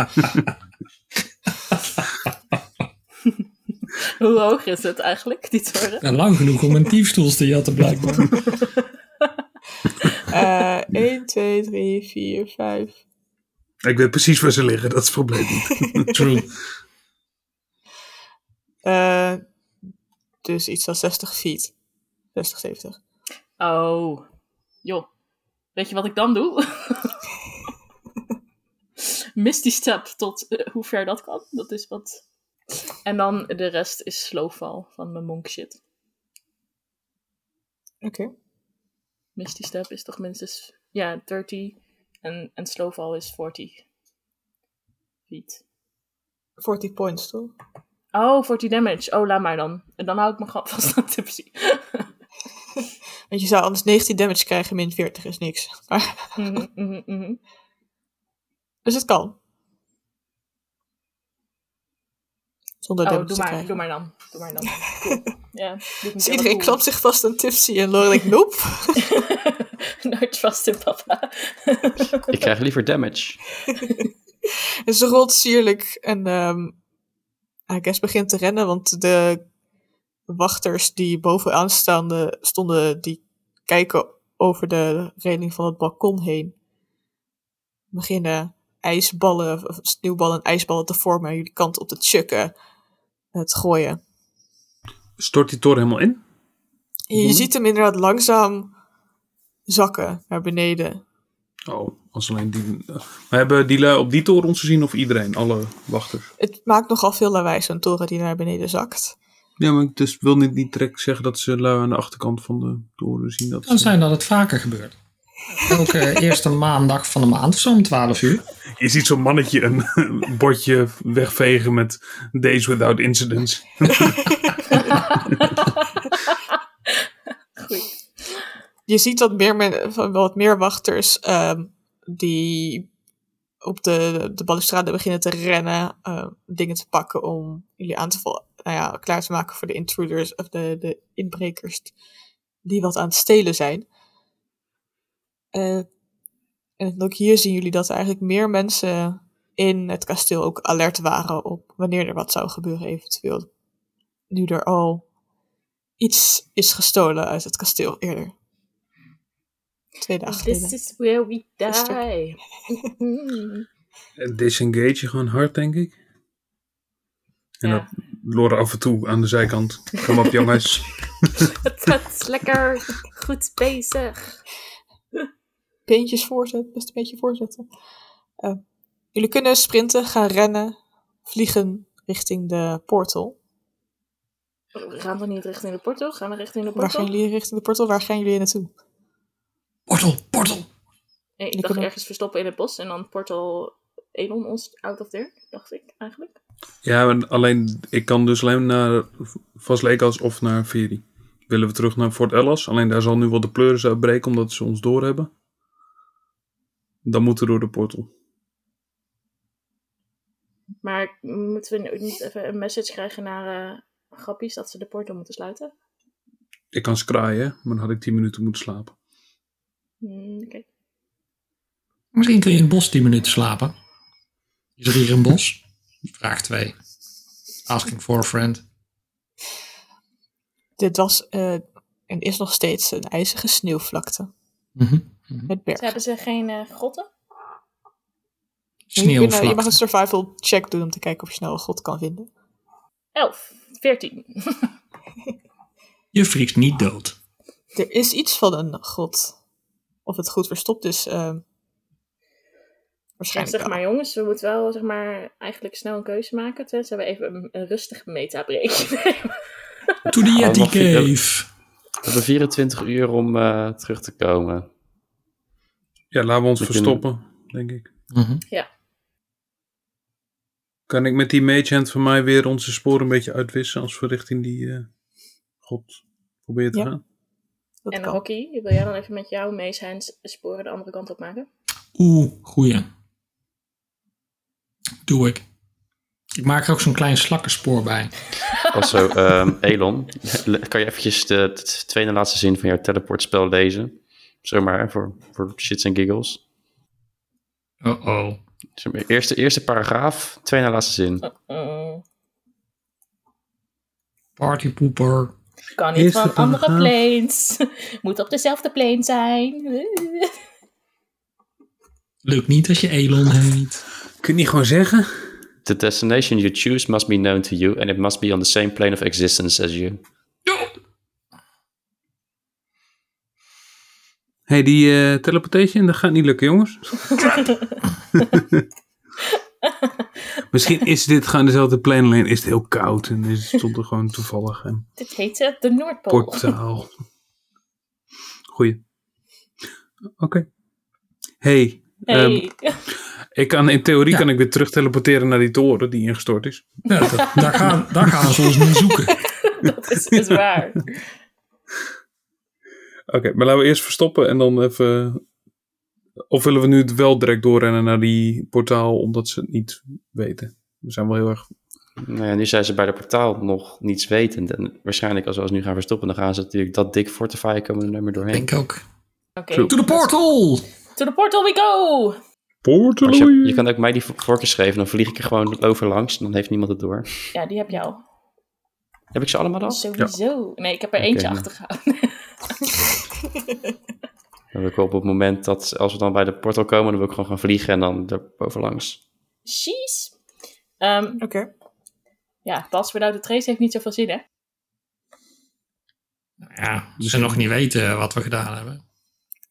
Speaker 5: Hoe hoog is het eigenlijk, die toren?
Speaker 3: Nou, lang genoeg om een diefstoel te jatten blijkbaar.
Speaker 1: Eh 1, 2, 3, 4, 5.
Speaker 4: Ik weet precies waar ze liggen, dat is het probleem niet.
Speaker 3: True.
Speaker 1: Eh dus iets van 60 feet. 60, 70.
Speaker 5: Oh, joh. Weet je wat ik dan doe? Misty step tot eh, hoe ver dat kan. Dat is wat. En dan de rest is slowfall van mijn monk shit.
Speaker 1: Oké.
Speaker 5: Misty step is toch minstens ja 30 en en slowfall is 40 feet.
Speaker 1: 40 points, toch?
Speaker 5: Oh, 40 damage. Oh, laat maar dan. En dan hou ik me gewoon vast aan tipsy.
Speaker 1: Want je zou anders 19 damage krijgen, min 40 is niks. Maar,
Speaker 5: Mhm, mhm, mhm.
Speaker 1: dus het kan. Zonder
Speaker 5: Oh,
Speaker 1: damage
Speaker 5: doe
Speaker 1: te
Speaker 5: maar,
Speaker 1: krijgen.
Speaker 5: doe maar dan. Doe maar dan. Cool. Ja, doe
Speaker 1: Dus
Speaker 5: ik mezelf
Speaker 1: iedereen
Speaker 5: cool.
Speaker 1: klampt zich vast aan Tipsy en Lorelei nope.
Speaker 5: no trust in papa.
Speaker 2: Ik krijg liever damage.
Speaker 1: En ze rolt sierlijk en ehm I guess begint te rennen, want de wachters die bovenaan staande, stonden, die kijken over de reling van het balkon heen. Beginnen ijsballen, of sneeuwballen en ijsballen te vormen, jullie kant op te chukken, het gooien.
Speaker 4: Stort die toren helemaal in?
Speaker 1: En je ziet hem inderdaad langzaam zakken naar beneden.
Speaker 4: Oh, als alleen die... We hebben die lui op die toren ons gezien of iedereen? Alle wachters?
Speaker 1: Het maakt nogal veel lawaai, zo'n toren die naar beneden zakt.
Speaker 4: Ja, maar ik dus wil niet, niet direct zeggen dat ze lui aan de achterkant van de toren zien. Dat
Speaker 3: Kan
Speaker 4: ze-
Speaker 3: zijn dat het vaker gebeurt. Elke eerste maandag van de maand, zo om 12 uur.
Speaker 4: Je ziet zo'n mannetje een bordje wegvegen met Days Without Incidents.
Speaker 5: Goed.
Speaker 1: je ziet dat meer men, van wat meer wachters ehm, die op de, de balustrade beginnen te rennen, ehm, dingen te pakken om jullie aan te vallen, nou ja, klaar te maken voor de intruders of de, de inbrekers die wat aan het stelen zijn. Eh, en ook hier zien jullie dat er eigenlijk meer mensen in het kasteel ook alert waren op wanneer er wat zou gebeuren eventueel. Nu er al iets is gestolen uit het kasteel eerder. Twee dagen geleden.
Speaker 5: This Dus is where we die.
Speaker 1: Gisteren.
Speaker 4: En disengage je gewoon hard, denk ik. En
Speaker 5: Ja.
Speaker 4: dan Laura af en toe aan de zijkant. Kom op, jongens.
Speaker 5: Het gaat lekker goed bezig.
Speaker 1: beentjes voorzetten, best een beetje voorzetten. Eh, jullie kunnen sprinten, gaan rennen, vliegen richting de portal.
Speaker 5: We gaan toch niet richting de portal? Gaan we richting de
Speaker 1: Waar gaan
Speaker 5: portal?
Speaker 1: jullie richting de portal? Waar gaan jullie naartoe?
Speaker 3: Portal, portal.
Speaker 5: Nee, ik
Speaker 1: jullie
Speaker 5: dacht
Speaker 1: kunnen-
Speaker 5: ergens verstoppen in het bos en dan portal Elon ons out of there, dacht ik eigenlijk.
Speaker 4: Ja, maar alleen, ik kan dus alleen naar Vaslekas of naar Veri. Willen we terug naar Fort Ellis? Alleen daar zal nu wel de pleuris uitbreken omdat ze ons doorhebben. Dan moeten we door de portal.
Speaker 5: Maar moeten we nu niet even een message krijgen naar eh grappies dat ze de portal moeten sluiten?
Speaker 4: Ik kan scraaien, maar dan had ik 10 minuten moeten slapen.
Speaker 5: Hmm, Oké.
Speaker 3: Misschien kun je in het bos 10 minuten slapen. Is er hier een bos? Vraag 2. Asking for a friend.
Speaker 1: Dit was eh, en is nog steeds een ijzige sneeuwvlakte
Speaker 3: Mhm.
Speaker 1: met
Speaker 5: Ze
Speaker 1: bergen.
Speaker 5: hebben ze geen eh, grotten?
Speaker 1: Je, kunt- je mag
Speaker 3: Sneeuwvlakte.
Speaker 1: een survival check doen om te kijken of je snel een god kan vinden.
Speaker 5: 11, 14.
Speaker 3: Je vriest niet dood.
Speaker 1: Er is iets van een god. Of het goed verstopt is. ehm,
Speaker 5: Ja,
Speaker 1: waarschijnlijk
Speaker 5: zeg maar jongens, we moeten wel zeg maar, eigenlijk snel een keuze maken. Tenzij we even een, een rustig metabreak nemen.
Speaker 3: To the Yeti
Speaker 2: mag je-
Speaker 3: Cave.
Speaker 2: We hebben 24 uur om eh, terug te komen.
Speaker 4: Ja, laten we ons
Speaker 2: We kunnen-
Speaker 4: verstoppen, denk ik.
Speaker 3: Mhm.
Speaker 4: Kan ik met die mage hand van mij weer onze sporen een beetje uitwissen als we richting die eh, god proberen te
Speaker 1: Ja.
Speaker 4: gaan?
Speaker 1: wel. Dat
Speaker 5: En
Speaker 1: kan.
Speaker 5: hockey, wil jij dan even met jouw Mace Hands sporen de andere kant op maken?
Speaker 3: Oeh, goeie. Doe ik. Ik maak er ook zo'n klein slakkenspoor bij.
Speaker 2: Also, ehm, Elon, kan je eventjes de, de tweede laatste zin van jouw teleportspel lezen? Zomaar, hè, voor, voor shits en giggles.
Speaker 3: Oh-oh.
Speaker 2: Zeg maar, Eerste, eerste paragraaf, tweede laatste zin.
Speaker 5: Mm,
Speaker 3: Partypoeper.
Speaker 5: kan niet
Speaker 4: Eerste
Speaker 5: van andere
Speaker 4: paragraaf.
Speaker 5: planes. Moet op dezelfde plane zijn.
Speaker 3: Lukt niet als je Elon heet.
Speaker 4: Kun je niet gewoon zeggen?
Speaker 2: The destination you choose must be known to you and it must be on the same plane of existence as you.
Speaker 4: Hé, hey, die eh, teleportation, dat gaat niet lukken, jongens. Misschien is dit gewoon dezelfde plane, alleen is het heel koud. En is stond er gewoon toevallig een
Speaker 5: Dit heet eh, de Noordpool.
Speaker 4: portaal. Goeie. Oké. Hey, ehm,
Speaker 5: Hey.
Speaker 4: ik kan, in theorie kan ik weer terug teleporteren naar die toren die ingestort is.
Speaker 3: Ja, dat- daar, gaan, daar gaan ze ons niet zoeken.
Speaker 5: dat is, is waar.
Speaker 4: Oké, maar laten we eerst verstoppen en dan even... Of willen we nu het wel direct doorrennen naar die portaal, omdat ze het niet weten? We zijn wel heel erg...
Speaker 2: Nou ja, nu zijn ze bij de portaal nog niets wetend. En waarschijnlijk als we ons nu gaan verstoppen, dan gaan ze natuurlijk dat dik fortifyen komen er nooit meer doorheen.
Speaker 3: Denk ook.
Speaker 5: Oké,
Speaker 4: Zo.
Speaker 3: To the portal!
Speaker 5: to the portal we go!
Speaker 4: Portal?
Speaker 2: Als je, je kan ook mij die vo- voorkeur geven, dan vlieg ik er gewoon over langs en dan heeft niemand het door.
Speaker 5: Ja, die heb je al.
Speaker 2: Heb ik ze allemaal al?
Speaker 5: Sowieso. Nee, ik heb er eentje
Speaker 2: Oké.
Speaker 5: achtergehouden.
Speaker 2: Dan wil ik op het moment dat, als we dan bij de portal komen, dan wil ik gewoon gaan vliegen en dan er bovenlangs.
Speaker 5: Sheesh. Ehm,
Speaker 1: Oké.
Speaker 5: ja, Bas without a trace heeft niet zoveel zin, hè?
Speaker 3: Ja, ze nog niet weten wat we gedaan hebben.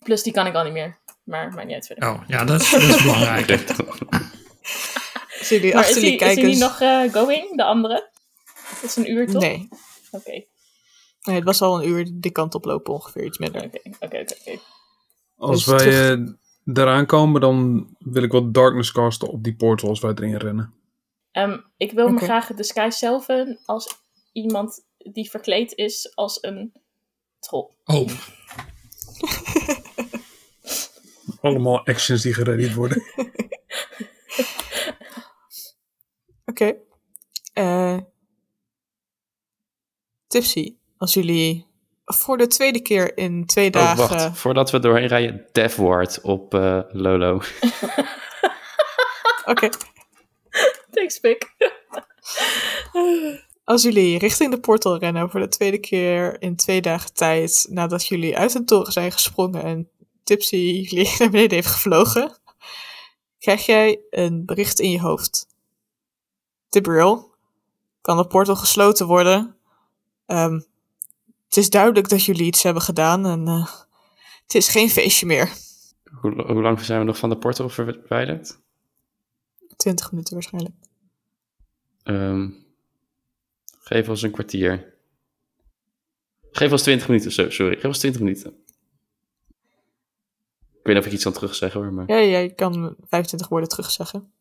Speaker 5: Plus, die kan ik al niet meer. Maar maakt niet uit verder.
Speaker 3: Oh, ja, dat is, dat is belangrijk.
Speaker 2: Oh,
Speaker 1: Zie jullie
Speaker 5: maar is
Speaker 1: achter die
Speaker 5: die, is die
Speaker 1: kijkers?
Speaker 5: niet nog eh, going, de andere? Dat is een uur, toch?
Speaker 1: nee.
Speaker 5: Oké, oké,
Speaker 1: nee, het was al een uur die kant op lopen ongeveer, iets minder.
Speaker 5: oké, oké, oké.
Speaker 1: Dus
Speaker 4: Als wij
Speaker 1: terug-
Speaker 4: eh, daaraan komen, dan wil ik wat darkness casten op die portal als wij erin rennen.
Speaker 5: Ehm, ik wil me
Speaker 1: Oké.
Speaker 5: graag de Sky Selven als iemand die verkleed is als een troll.
Speaker 3: Oh,
Speaker 4: Allemaal actions die gereadied worden.
Speaker 1: Oké. Eh tipsy, als jullie voor de tweede keer in twee
Speaker 2: Oh,
Speaker 1: dagen...
Speaker 2: wacht. Voordat we doorheen rijden, Death Ward op eh, Lolo.
Speaker 1: Oké.
Speaker 5: Thanks, Pik.
Speaker 1: Als jullie richting de portal rennen voor de tweede keer in twee dagen tijd nadat jullie uit een toren zijn gesprongen en Tipsy jullie naar beneden heeft gevlogen, krijg jij een bericht in je hoofd. Tibriel, kan de portal gesloten worden? Ehm, het is duidelijk dat jullie iets hebben gedaan en eh, het is geen feestje meer.
Speaker 2: Hoe, hoe lang zijn we nog van de portal verwijderd?
Speaker 1: Twintig minuten waarschijnlijk.
Speaker 2: Ehm, geef ons een kwartier. Geef ons 20 minuten, zo, sorry. Geef ons 20 minuten. Ik weet niet of ik iets kan terugzeggen hoor, maar...
Speaker 1: Ja, jij kan 25 woorden terugzeggen.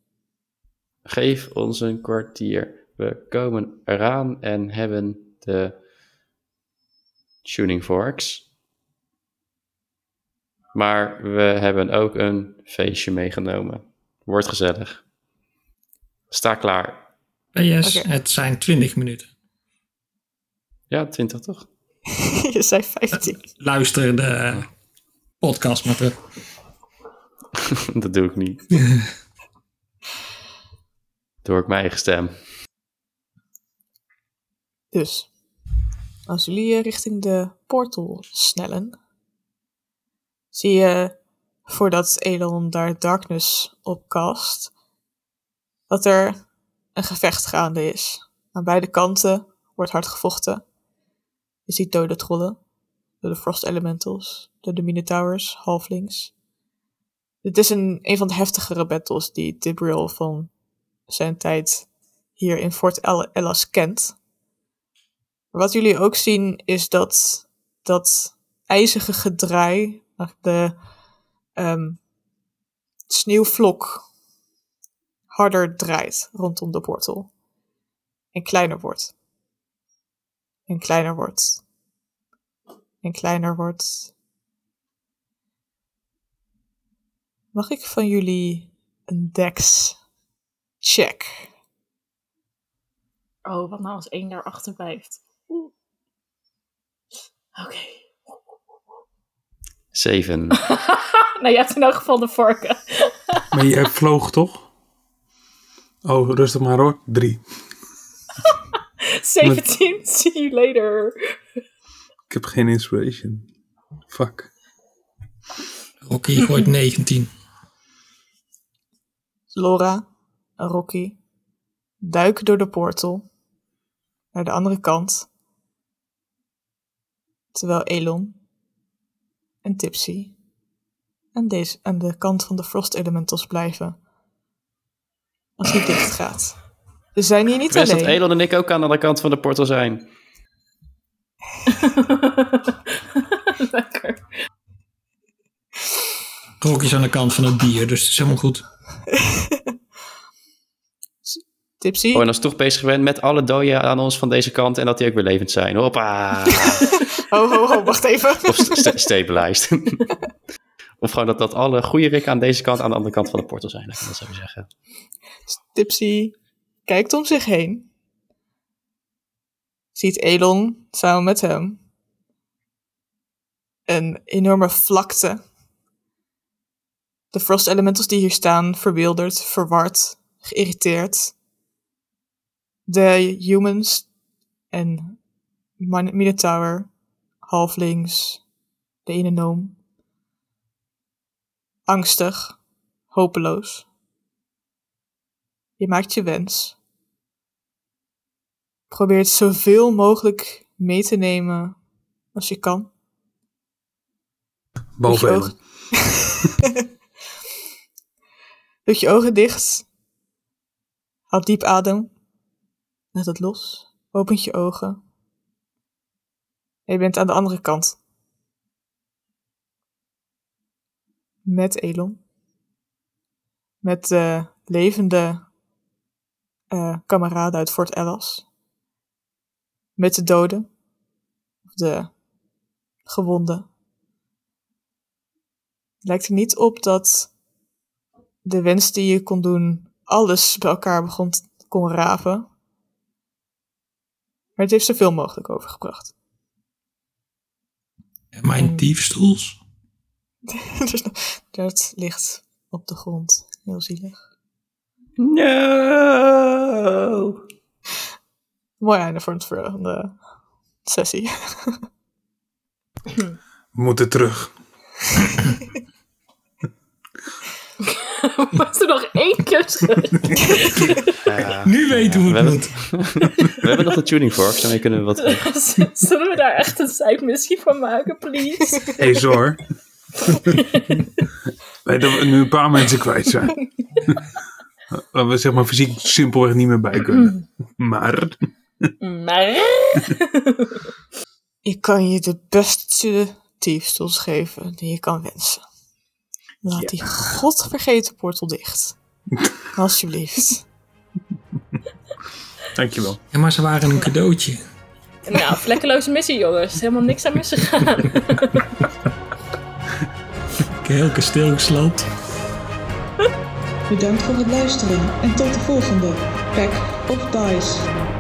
Speaker 2: Geef ons een kwartier. We komen eraan en hebben de tuning forks. Maar we hebben ook een feestje meegenomen. Wordt gezellig. Sta klaar.
Speaker 3: PS,
Speaker 1: Oké.
Speaker 3: het zijn 20 minuten.
Speaker 2: Ja, 20 toch?
Speaker 1: je zei 15.
Speaker 3: Luister de eh, podcast maar terug.
Speaker 2: Dat doe ik niet. Door ik mijn eigen stem.
Speaker 1: Dus, als jullie eh, richting de portal snellen, zie je, voordat Elon daar darkness op kast, dat er een gevecht gaande is. Aan beide kanten wordt hard gevochten. Je ziet dode trollen, door de frost elementals, door de minotaurs, halflings. Dit is een, een van de heftigere battles die Tibriel van zijn tijd hier in Fort El- Ellas kent. Maar Wat jullie ook zien is dat dat ijzige gedraai, de ehm, sneeuwvlok, harder draait rondom de portal. En kleiner wordt. En kleiner wordt. En kleiner wordt. Mag ik van jullie een dex check?
Speaker 5: Oh, wat nou als één daarachter blijft? Oeh. Oké.
Speaker 2: Zeven.
Speaker 5: nou, je hebt in elk geval de vorken.
Speaker 4: Maar jij vloog toch? Oh, rustig maar hoor. Drie.
Speaker 5: 17, see you later.
Speaker 4: Ik heb geen inspiration. Fuck.
Speaker 3: Rocky gooit 19.
Speaker 1: Laura, Rocky, duiken door de portal naar de andere kant. Terwijl Elon en Tipsy aan, deze, aan de kant van de Frost Elementals blijven. Als die dicht gaat. Ze zijn hier niet
Speaker 2: Wist dat
Speaker 1: alleen.
Speaker 2: Elon en ik ook aan de andere kant van de portal zijn.
Speaker 5: Lekker.
Speaker 3: Rocky is aan de kant van het bier, dus het is helemaal goed.
Speaker 1: Tipsy,
Speaker 2: Oh, en als je toch bezig bent met alle doden aan ons van deze kant en dat die ook weer levend zijn. Hoppa!
Speaker 1: ho ho ho, Oh, wacht even.
Speaker 2: of st- st- stabilized. of gewoon dat, dat alle goede rikken aan deze kant aan de andere kant van de portal zijn. laat ik Dat zou zeggen.
Speaker 1: Tipsy kijkt om zich heen. Ziet Elon samen met hem. Een enorme vlakte. De frost elementals die hier staan, verwilderd, verward, geïrriteerd. De humans en man- Minotaur, halflings, de ene noom. Angstig, hopeloos. Je maakt je wens. Probeert zoveel mogelijk mee te nemen als je kan.
Speaker 4: Behalve
Speaker 1: je
Speaker 4: Elon.
Speaker 1: ogen- Doet je ogen dicht. Haal diep adem. Laat het los. Opent je ogen. En je bent aan de andere kant. Met Elon. Met de levende eh, kameraden uit Fort Ellis. Met de doden. Of de gewonden lijkt er niet op dat de wens die je kon doen alles bij elkaar begon t- kon raven. Maar het heeft zoveel mogelijk overgebracht.
Speaker 3: En
Speaker 2: Mm.
Speaker 3: mijn diefstoels.
Speaker 1: dus dat ligt op de grond. Heel zielig.
Speaker 2: No!
Speaker 1: Mooi einde voor het voor de sessie.
Speaker 4: We moeten terug.
Speaker 5: Was er nog één keer schudden?
Speaker 3: Nu weten
Speaker 2: we
Speaker 3: we hoe het
Speaker 2: hebben,
Speaker 3: moet.
Speaker 2: we hebben nog de tuning forks, daarmee kunnen we wat...
Speaker 5: Zullen we daar echt een zijmissie van maken, please?
Speaker 4: Hey Zor. Weet dat we nu een paar mensen kwijt zijn. Waar we zeg maar fysiek simpelweg niet meer bij kunnen. Maar
Speaker 5: Maar...
Speaker 1: Ik kan je de beste diefstoels geven die je kan wensen. Laat die godvergeten portal dicht. Alsjeblieft.
Speaker 4: dankjewel.
Speaker 3: Ja, maar ze waren een cadeautje.
Speaker 5: Nou, vlekkeloze missie, jongens. Helemaal niks aan misgegaan.
Speaker 3: Ik heb heel kasteel gesloopt.
Speaker 6: Bedankt voor het luisteren en tot de volgende. Pack of Dice.